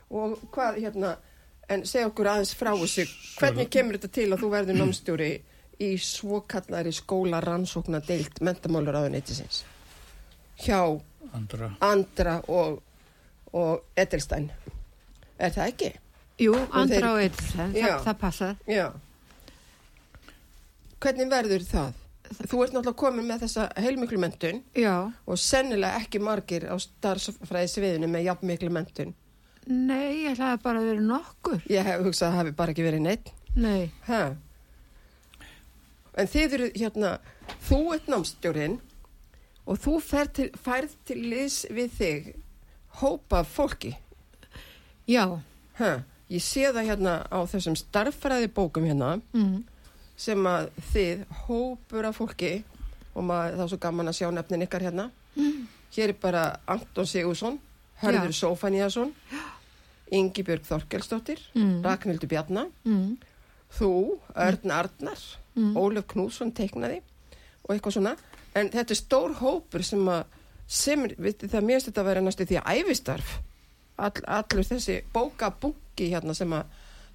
Og hvað hérna, en segja okkur aðeins frá þessu, hvernig kemur þetta til að þú verður námstjóri í svokallari skóla rannsókna deilt mentamálur áðuneytisins? Hjá
andra
Andra og, og Edelstein. Er það ekki?
jú,
þeir-
andra og eitt, það,
Já.
það passað.
Já. Hvernig verður það? Þú ert náttúrulega komin með þessa heilmiklu mentun
Já,
og sennilega ekki margir á starfsfræði sviðinu með jafnmiklu mentun.
nei, ég ætlaði bara að vera nokkur.
Ég hef hugsað að það hafi bara ekki verið neitt.
Nei,
Ha. En þið eru hérna, þú ert námstjórin og þú færð til, færð til liðs við þig hópa af fólki.
já,
Ha. Ég sé það hérna á þessum starffræði bókum hérna
mm.
sem að þið hópur af fólki og maður, það er svo gaman að sjá nefnin ykkar hérna. Hér er bara Anton Sigursson, Hörður
Já.
Sófaníasson, Ingibjörg Þorkelsdóttir,
Mm.
Ragnhildur Bjarnar,
Mm.
þú, Örn Arnar, Ólaf Knússon teiknaði og eitthvað svona. En þetta er stór hópur sem að, sem, við, það mérst þetta að vera næstu því að æfistarf. All, allur þessi bókabunki hérna sem að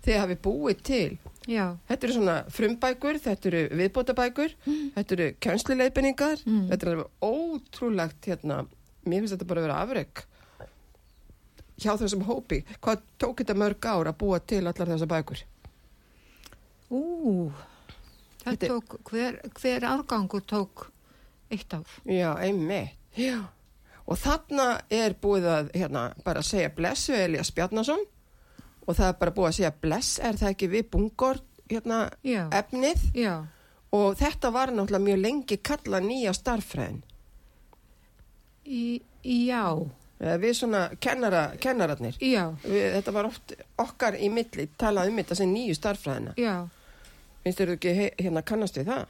þið hafi búið til.
já,
Þetta eru svona frumbækur, þetta eru viðbótabækur, þetta eru kjönsluleifinningar, þetta er alveg ótrúlegt hérna, mér finnst þetta bara að vera afreg hjá þessum hópi. Hvað tók þetta mörg ár að búa til allar þessar bækur?
ú, það
Þetta er-
tók, hver, hver árgangur tók eitt ár.
Já, einmitt. Já. Og þarna er búið að hérna, bara segja bless við Elias Bjarnason og það er bara búið að segja bless er það ekki við bungur hérna,
Já.
efnið
Já,
og þetta var náttúrulega mjög lengi kalla nýja starffræðin.
Í, já,
Eh, Við svona kennara, kennararnir,
já,
við, þetta var oft okkar í milli talað um þetta sem nýju starffræðina.
já.
Finnst þér ekki he- hérna kannast við það?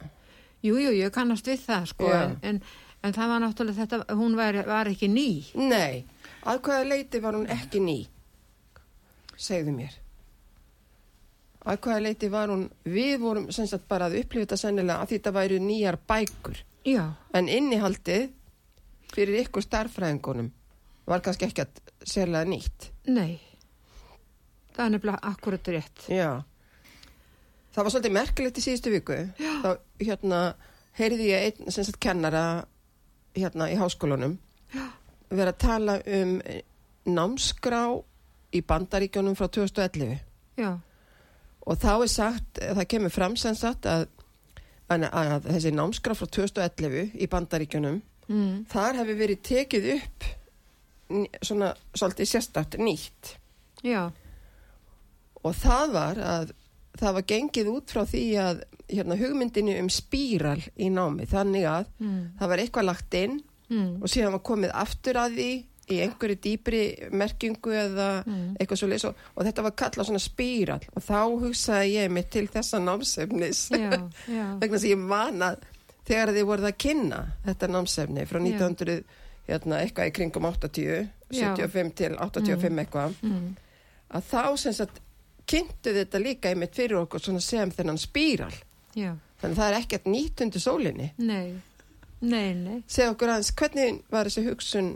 Jú, jú, ég kannast við það sko,
Já.
en, en, en það var náttúrulega þetta, hún var, var ekki ný.
Nei, að hvaða leiti var hún ekki ný? Segðu mér. Að hvaða leiti var hún, við vorum sem sagt bara að upplifa þetta sennilega að þetta væru nýjar bækur.
Já,
En innihaldið fyrir ykkur starffræðingunum var kannski ekki að sérlega nýtt.
nei. Það er nefnilega akkurat rétt.
Já. Það var svolítið merkilegt í síðustu viku. Já. Þá hérna heyrði ég einn sem sagt kennara hérna í háskólanum Já. vera að tala um eh, námskrá í bandaríkjónum frá 2011
Já,
og þá er sagt, eh, það kemur fram sem sagt að, að, að þessi námskrá frá 2011 í bandaríkjónum
mm.
þar hefur verið tekið upp ný- svona svolítið sérstakt nýtt
já,
og það var að það var gengið út frá því að hérna, hugmyndinu um spíral í námi þannig að
mm.
það var eitthvað lagt inn
Mm.
og síðan var komið aftur að því í einhverju dýpri merkingu eða
Mm.
eitthvað svo leys og, og þetta var kallað svona spíral og þá hugsaði ég mig til þessa námsefnis
já, já,
vegna þess að ég man að þegar þið voruð að kynna þetta námsefni frá
Já.
1900 hérna, eitthvað í kringum 80
Já.
75 til 85 eitthvað
mm.
að þá sem sagt kynntu þetta líka einmitt fyrir okkur svona sem þennan spíral
já,
þannig að það er ekkert nýtt undir sólinni
nei, nei, nei.
segja okkur aðeins, hvernig var þessi hugsun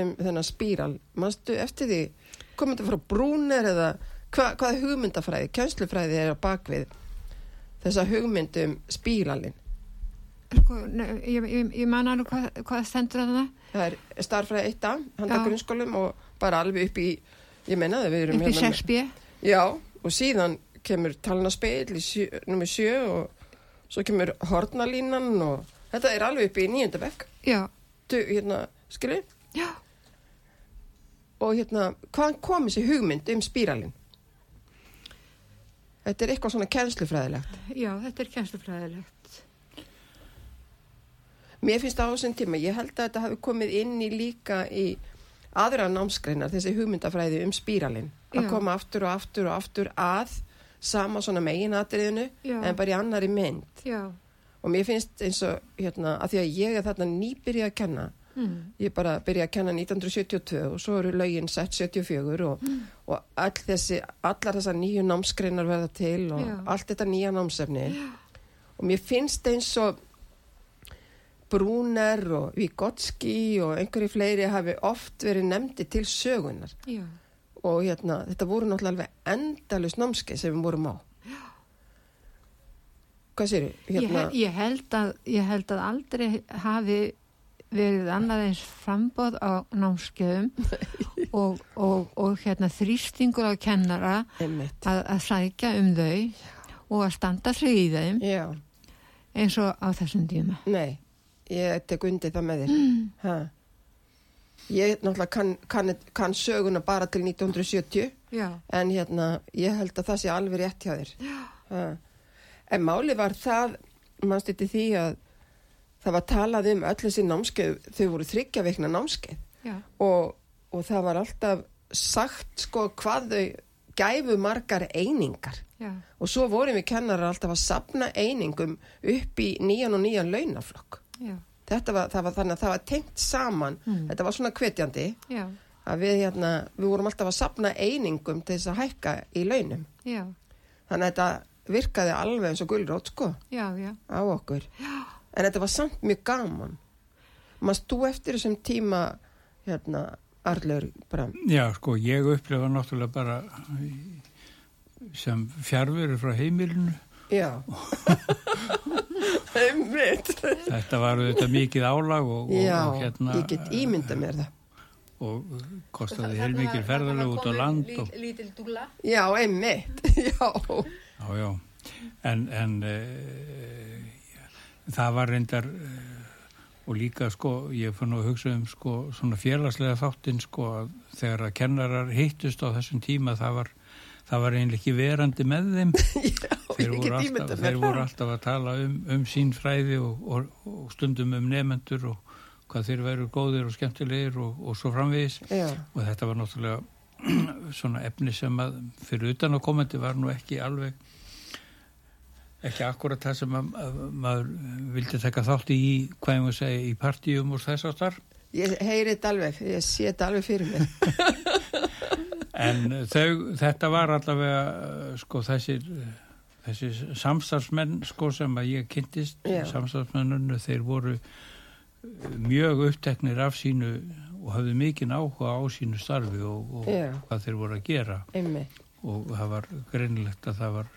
um þennan spíral manstu eftir því, kom þetta frá brúner eða hva, hvaða hugmyndafræði kjænslufræði er á bakvið þessa hugmynd um spíralin
Sko, nei, ég, ég, ég man alveg hvað, hvað stendur að það.
það er starfræði 1 handa
Já.
grunnskólum og bara alveg upp í ég menna það við erum hérna
Upp í
með-
Sersbjö,
Já, og síðan kemur talna speil í sjö, nummer sjö og svo kemur hornalínan og þetta er alveg upp í nýjönda vekk.
já,
Du, hérna, skilu?
já.
Og hérna, hvaðan kom þessi hugmynd um spíralinn? Þetta er eitthvað svona kennslufræðilegt.
Já, þetta er kjænslufræðilegt.
Mér finnst það á þessum tíma, ég held að þetta hafi komið inn í líka í aðra námsgreinar, þessi hugmyndafræði um spíralinn. Að
Já.
koma aftur og aftur og aftur að sama svona meginatriðinu,
Já.
en bara í annari mynd.
Já,
og mér finnst eins og hérna, að því að ég er þarna nýbyrja að kenna
mm.
ég bara byrja að kenna 1972 og svo eru lögin sett 74 og,
Mm.
og all þessi, allar þessar nýju námskreinar verða til og
Já.
allt þetta nýja námsefni og mér finnst eins og Brúner og Vigotski og einhverju fleiri hafi oft verið nefndi til sögunar
já,
og hérna, þetta voru náttúrulega alveg endalus námskeið sem við vorum á Hvað sér
ég,
Hérna,
he- ég, held að, ég held að aldrei hafi verið annað eins frambóð á námskeiðum og, og, og hérna þrýstingur á kennara
einmitt
að, að sækja um þau og að standa sig í þeim
Já,
eins og á þessum tíma.
nei, ég tek undir það með þér. Mm. Ég náttúrulega kann, kann, kann söguna bara til 1970
Já,
en hérna, ég held að það sé alveg rétt hjá þér. Ha. En máli var það, mannst þetta því að það var talað um öll þessi námskeið, þau voru þryggja veikna námskeið
já,
og, og það var alltaf sagt sko hvað þau gæfu margar einingar.
já,
Og svo vorum við kennarar alltaf að sapna einingum upp í nýjan og nýjan launaflokk.
já,
Þetta var, það var þannig að það var tengt saman, þetta var svona hvetjandi
já,
að við, hérna, við vorum alltaf að sapna einingum til þess að hækka í launum.
já,
Þannig að þetta virkaði alveg eins og gulrót sko
já, já.
á okkur. Já. En þetta var samt mjög gaman. Manst þú eftir þessum tíma, hérna, Arlur, bara,
Já, sko, ég upplifa náttúrulega bara í- sem fjárveru frá heimilinu.
já. Einmitt.
Þetta var auðvitað mikið álag og, og,
Já,
og hérna
ég get ímynda mér það.
og kostaði heilmikið ferðalög út á land og,
Lítil dúla.
Já, einmitt, já.
já, já, en, en uh, það var reyndar uh, og líka sko, ég fann nú að hugsa um sko, svona félagslega þáttinn sko, að þegar að kennarar hittust á þessum tíma það var það var eiginlega ekki verandi með þeim
Já,
þeir
ég
voru,
get
alltaf,
ímyndað mér
þeir voru alltaf að tala um, um sín fræði og, og, og stundum um nefendur og hvað þeir veru góðir og skemmtilegir og, og svo framvegis
Já,
og þetta var náttúrulega svona efni sem að fyrir utan að komandi var nú ekki alveg ekki akkurat það sem að, að maður vildi taka þátt í hvað ég maður segja í partíum og þess áttar
ég heyri þetta alveg, ég sé þetta alveg fyrir mér.
En þau, þetta var allavega uh, sko þessir, uh, þessir samstarfsmenn sko sem að ég kynntist,
Já.
samstarfsmennunni þeir voru uh, mjög uppteknir af sínu og hafðu mikinn áhuga á sínu starfi og, og
Já.
hvað þeir voru að gera
Einmi,
og það var greinlegt að það var,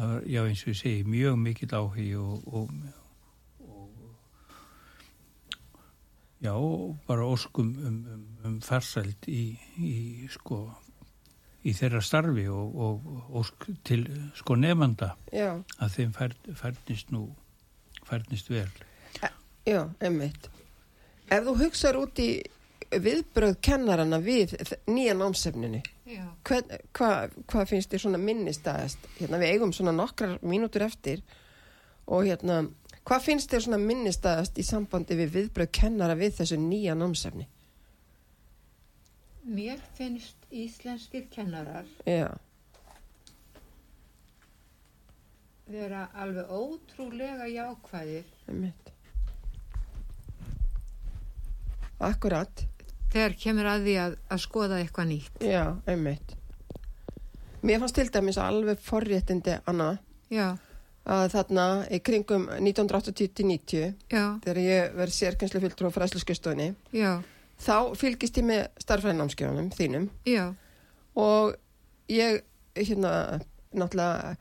það var já eins og ég segi, mjög mikill áhugi og, og, og já, og bara óskum um, um, um farsæld í, í sko í þeirra starfi og, og ósk til sko nefnda
já,
að þeim fær, færnist nú færnist vel
já, einmitt. Ef þú hugsar út í viðbröð kennarana við þ- nýja námsefninu,
Já.
hvað hva, hva finnst þér svona minnistæðast? Hérna, við eigum svona nokkrar mínútur eftir og hérna, hvað finnst þér svona minnistæðast í sambandi við viðbröð kennara við þessu nýja námsefni?
Mér finnst íslenskir kennarar
Já,
vera alveg ótrúlega jákvæðir
einmitt. Akkurat.
þegar kemur að því að, að skoða eitthvað nýtt.
Já, einmitt. Mér fannst til dæmis alveg forréttindi annað
Já,
að þarna í kringum 1980-90
já,
þegar ég verð sérkenslu fylgdur á fræsluskustofni
já,
þá fylgist ég með starfræðinámskjöfunum þínum
já,
og ég hérna náttúrulega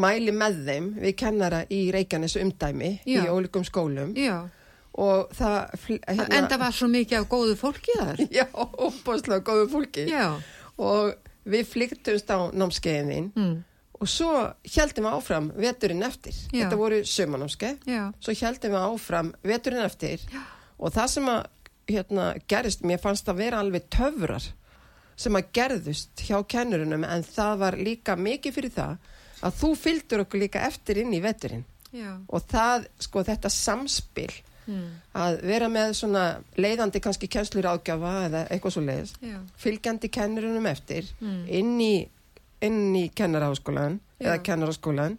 mæli með þeim við kennara í Reykjanes umdæmi í
Já.
ólíkum skólum
já.
og það fl- hérna-
Það enda var svo mikið af góðu fólki þar.
Já, óbáslega góðu fólki
Já,
og við flyktumst á námskeiðin þín
mm.
Og svo heldum við áfram veturinn eftir.
Já.
Þetta voru sömanámske.
já,
Svo heldum við áfram veturinn eftir. Já. Og það sem að hérna, gerist, mér fannst það vera alveg töfrar sem að gerðust hjá kennurunum en það var líka mikið fyrir það að þú fylgdur okkur líka eftir inn í veturinn.
já,
Og það, sko, þetta samspil
mm.
að vera með svona leiðandi kannski kennslur ágjafa eða eitthvað svo leiðist
já,
fylgjandi kennurunum eftir
Mm.
inn í, inn í kennaraháskólan
Já.
eða kennaraháskólan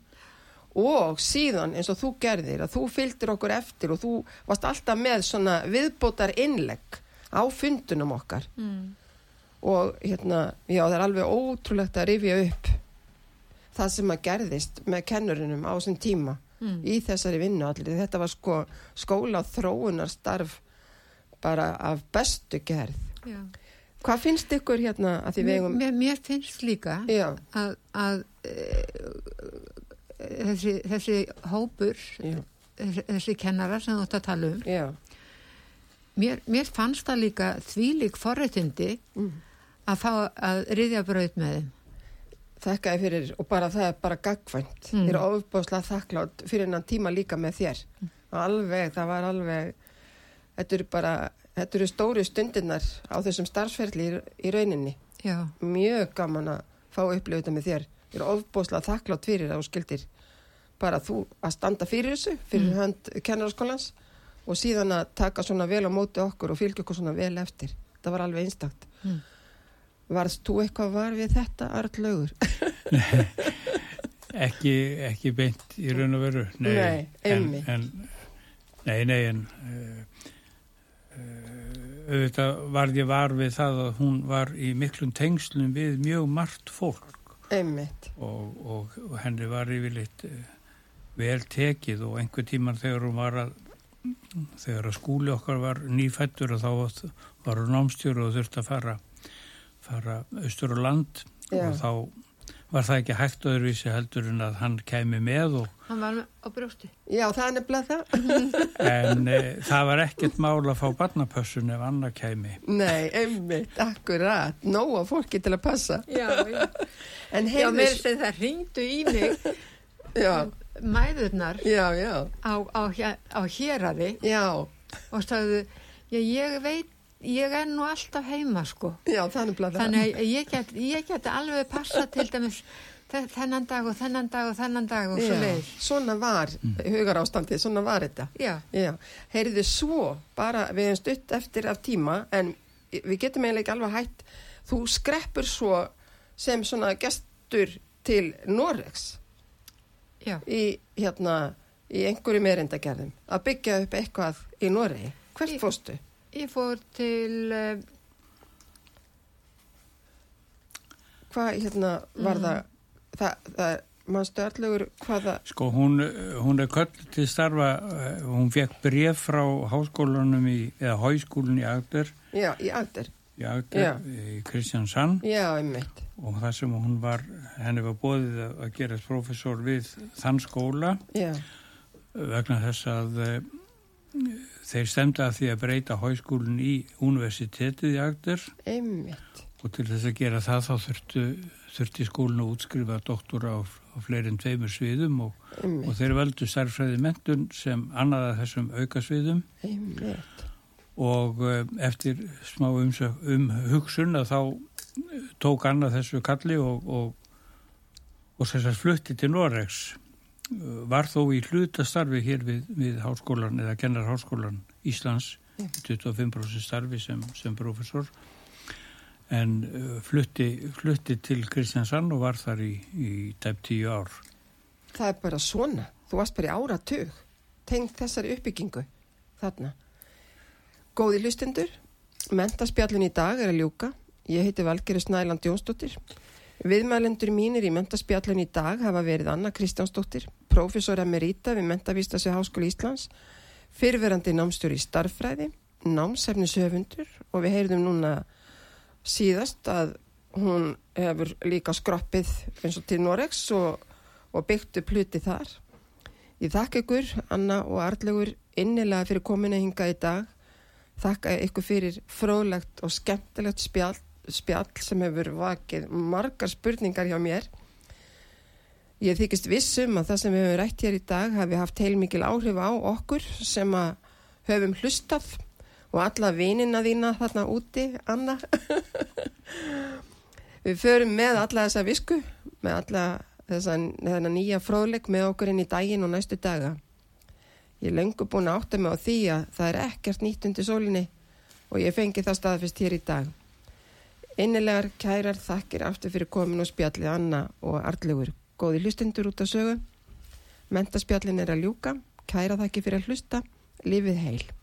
og síðan eins og þú gerðir að þú fylgdir okkur eftir og þú varst alltaf með svona viðbótar innlegg á fundunum okkar
mm.
og hérna, já það er alveg ótrúlegt að rifja upp það sem að gerðist með kennurunum á þessum tíma
Mm.
í þessari vinnu allir þetta var sko skóla þróunarstarf bara af bestu gerð
já.
Hvað finnst ykkur hérna að því við eigum?
Mér, mér finnst líka
Já,
að, að e, þessi, þessi hópur,
já,
þessi, þessi kennarar sem þú ætti að tala um,
já,
mér, mér fannst það líka þvílík forréttindi
Mm.
að fá að riðja braut með þeim.
þakka þér fyrir og bara það er bara gagvænt.
Mm.
Ég er ofbáslega þakklátt fyrir hennan tíma líka með þér. Alveg, það var alveg, þetta eru bara, þetta eru stóru stundirnar á þessum starfsferðli í, í rauninni.
Já,
Mjög gaman að fá upplöfu þetta með þér. Ég er ofbáslega þakklátt fyrir það og skildir bara þú að standa fyrir þessu, fyrir hönd kennaraskólans og síðan að taka svona vel á móti okkur og fylgja okkur svona vel eftir. Það var alveg einstakt.
mm.
Varst þú eitthvað var við þetta artlaugur?
ekki, ekki beint í raun og veru
Nei,
en,
einmitt.
en, nei, nei en uh, auðvitað varð ég var við það að hún var í miklum tengslum við mjög margt fólk
Einmitt.
og, og, og henni var yfirleitt eh, vel tekið og einhver tíman þegar hún var að þegar að skúli okkar var nýfættur og þá var- var hún námstjóru og þurfti að fara fara austur á land
Já.
og þá var það ekki hægt öðruvísi heldur en að hann kæmi með og,
hann var á brjósti.
Já, það er nefnilega það.
en e, það var ekkert mál að fá barnapössun ef annað kæmi
Nei, einmitt, akkurat. Nóa fólki til að passa.
Já, já.
En
Já, mér
heyrðu,
sem það ringdu í mig
já,
mæðurnar
já, já,
á, á, hér- á hérari
já,
og sagðu, já, ég veit ég er nú alltaf heima sko.
Já, það er nefnilega það.
Þannig að ég get, ég get alveg passa til dæmis þe- þennan dag og þennan dag og þennan dag og svo
Já,
leiðis.
svona var hugarástandið, svona var þetta.
Já.
Já, heyrðu svo, bara við hefum stutt eftir af tíma en við getum eiginlega ekki alveg hætt, þú skreppur svo sem svona gestur til Noregs
Já.
í hérna, í einhverjum erindagerðum að byggja upp eitthvað í Noregi. Hvert
Í-
fórstu?
Ég fór til, eh,
Hvað hérna var það, það, það mannstu allugur hvað það,
Sko hún, hún er kölluð til starfa, eh, hún fekk bref frá háskólanum í, eða háskólinn í Agder,
já, í aldur,
í Agder,
Já.
í Kristjansson
já, einmitt,
og það sem hún var, henni var bóðið að að gerast professor við þann skóla
já,
vegna þess að eh, þeir stemda að því að breyta háskólinn í universitetið í Agder
einmitt,
og til þess að gera það þá þurftu, þurfti skólinn að útskrifa doktora á, á fleirin tveimur sviðum og, og
einmitt,
þeir valdu starffræði mentun sem annaða þessum aukasviðum
einmitt,
og eh, eftir smá umsök, um hugsun að þá eh, tók annað þessu kalli og, og, og þess að flutti til Noregs Eh, var þó í hlutastarfi hér við, við háskólan eða kennar háskólan Íslands 25% starfi sem, sem professor en eh, flutti, flutti til Kristjansson og var þar í, í tæp tíu ár
það er bara svona, þú varst bara í áratug, tengd þessari uppbyggingu, þarna. Góði hlustendur, mentaspjallin í dag er að ljúka, ég heiti Valgeri Snæland Jónsdóttir. Viðmælendur mínir í mentaspjallin í dag hafa verið Anna Kristjánsdóttir, prófessor emerita við Mentavístasi Háskóli Íslands, fyrverandi námstjóri í starffræði, námsefnishöfundur og við heyrðum núna síðast að hún hefur líka skroppið eins og til Noregs og, og byggt upp hluti þar. Ég þakka ykkur, Anna og Arlegur, innilega fyrir kominu hinga í dag. Þakka ykkur fyrir fróðlegt og skemmtilegt spjall, spjall sem hefur vakið margar spurningar hjá mér. Ég þykist vissum að það sem við höfum rætt hér í dag hafi haft heilmikil áhrif á okkur sem að höfum hlustað og alla vinina þína þarna úti, Anna. við förum með alla þessa visku, með alla þessa, þennan nýja fróðleik með okkur inn í daginn og næstu daga. Ég er löngu búin að átta mig á því að það er ekkert nýtt undir sólinni og ég fengi það staðfist hér í dag. Innilegar kærar þakkir aftur fyrir komin og spjallið Anna og Arlugur. Góði hlustendur út af sögu. Mentaspjallin er að ljúka. Kæra þakkir fyrir að hlusta. Lífið heil.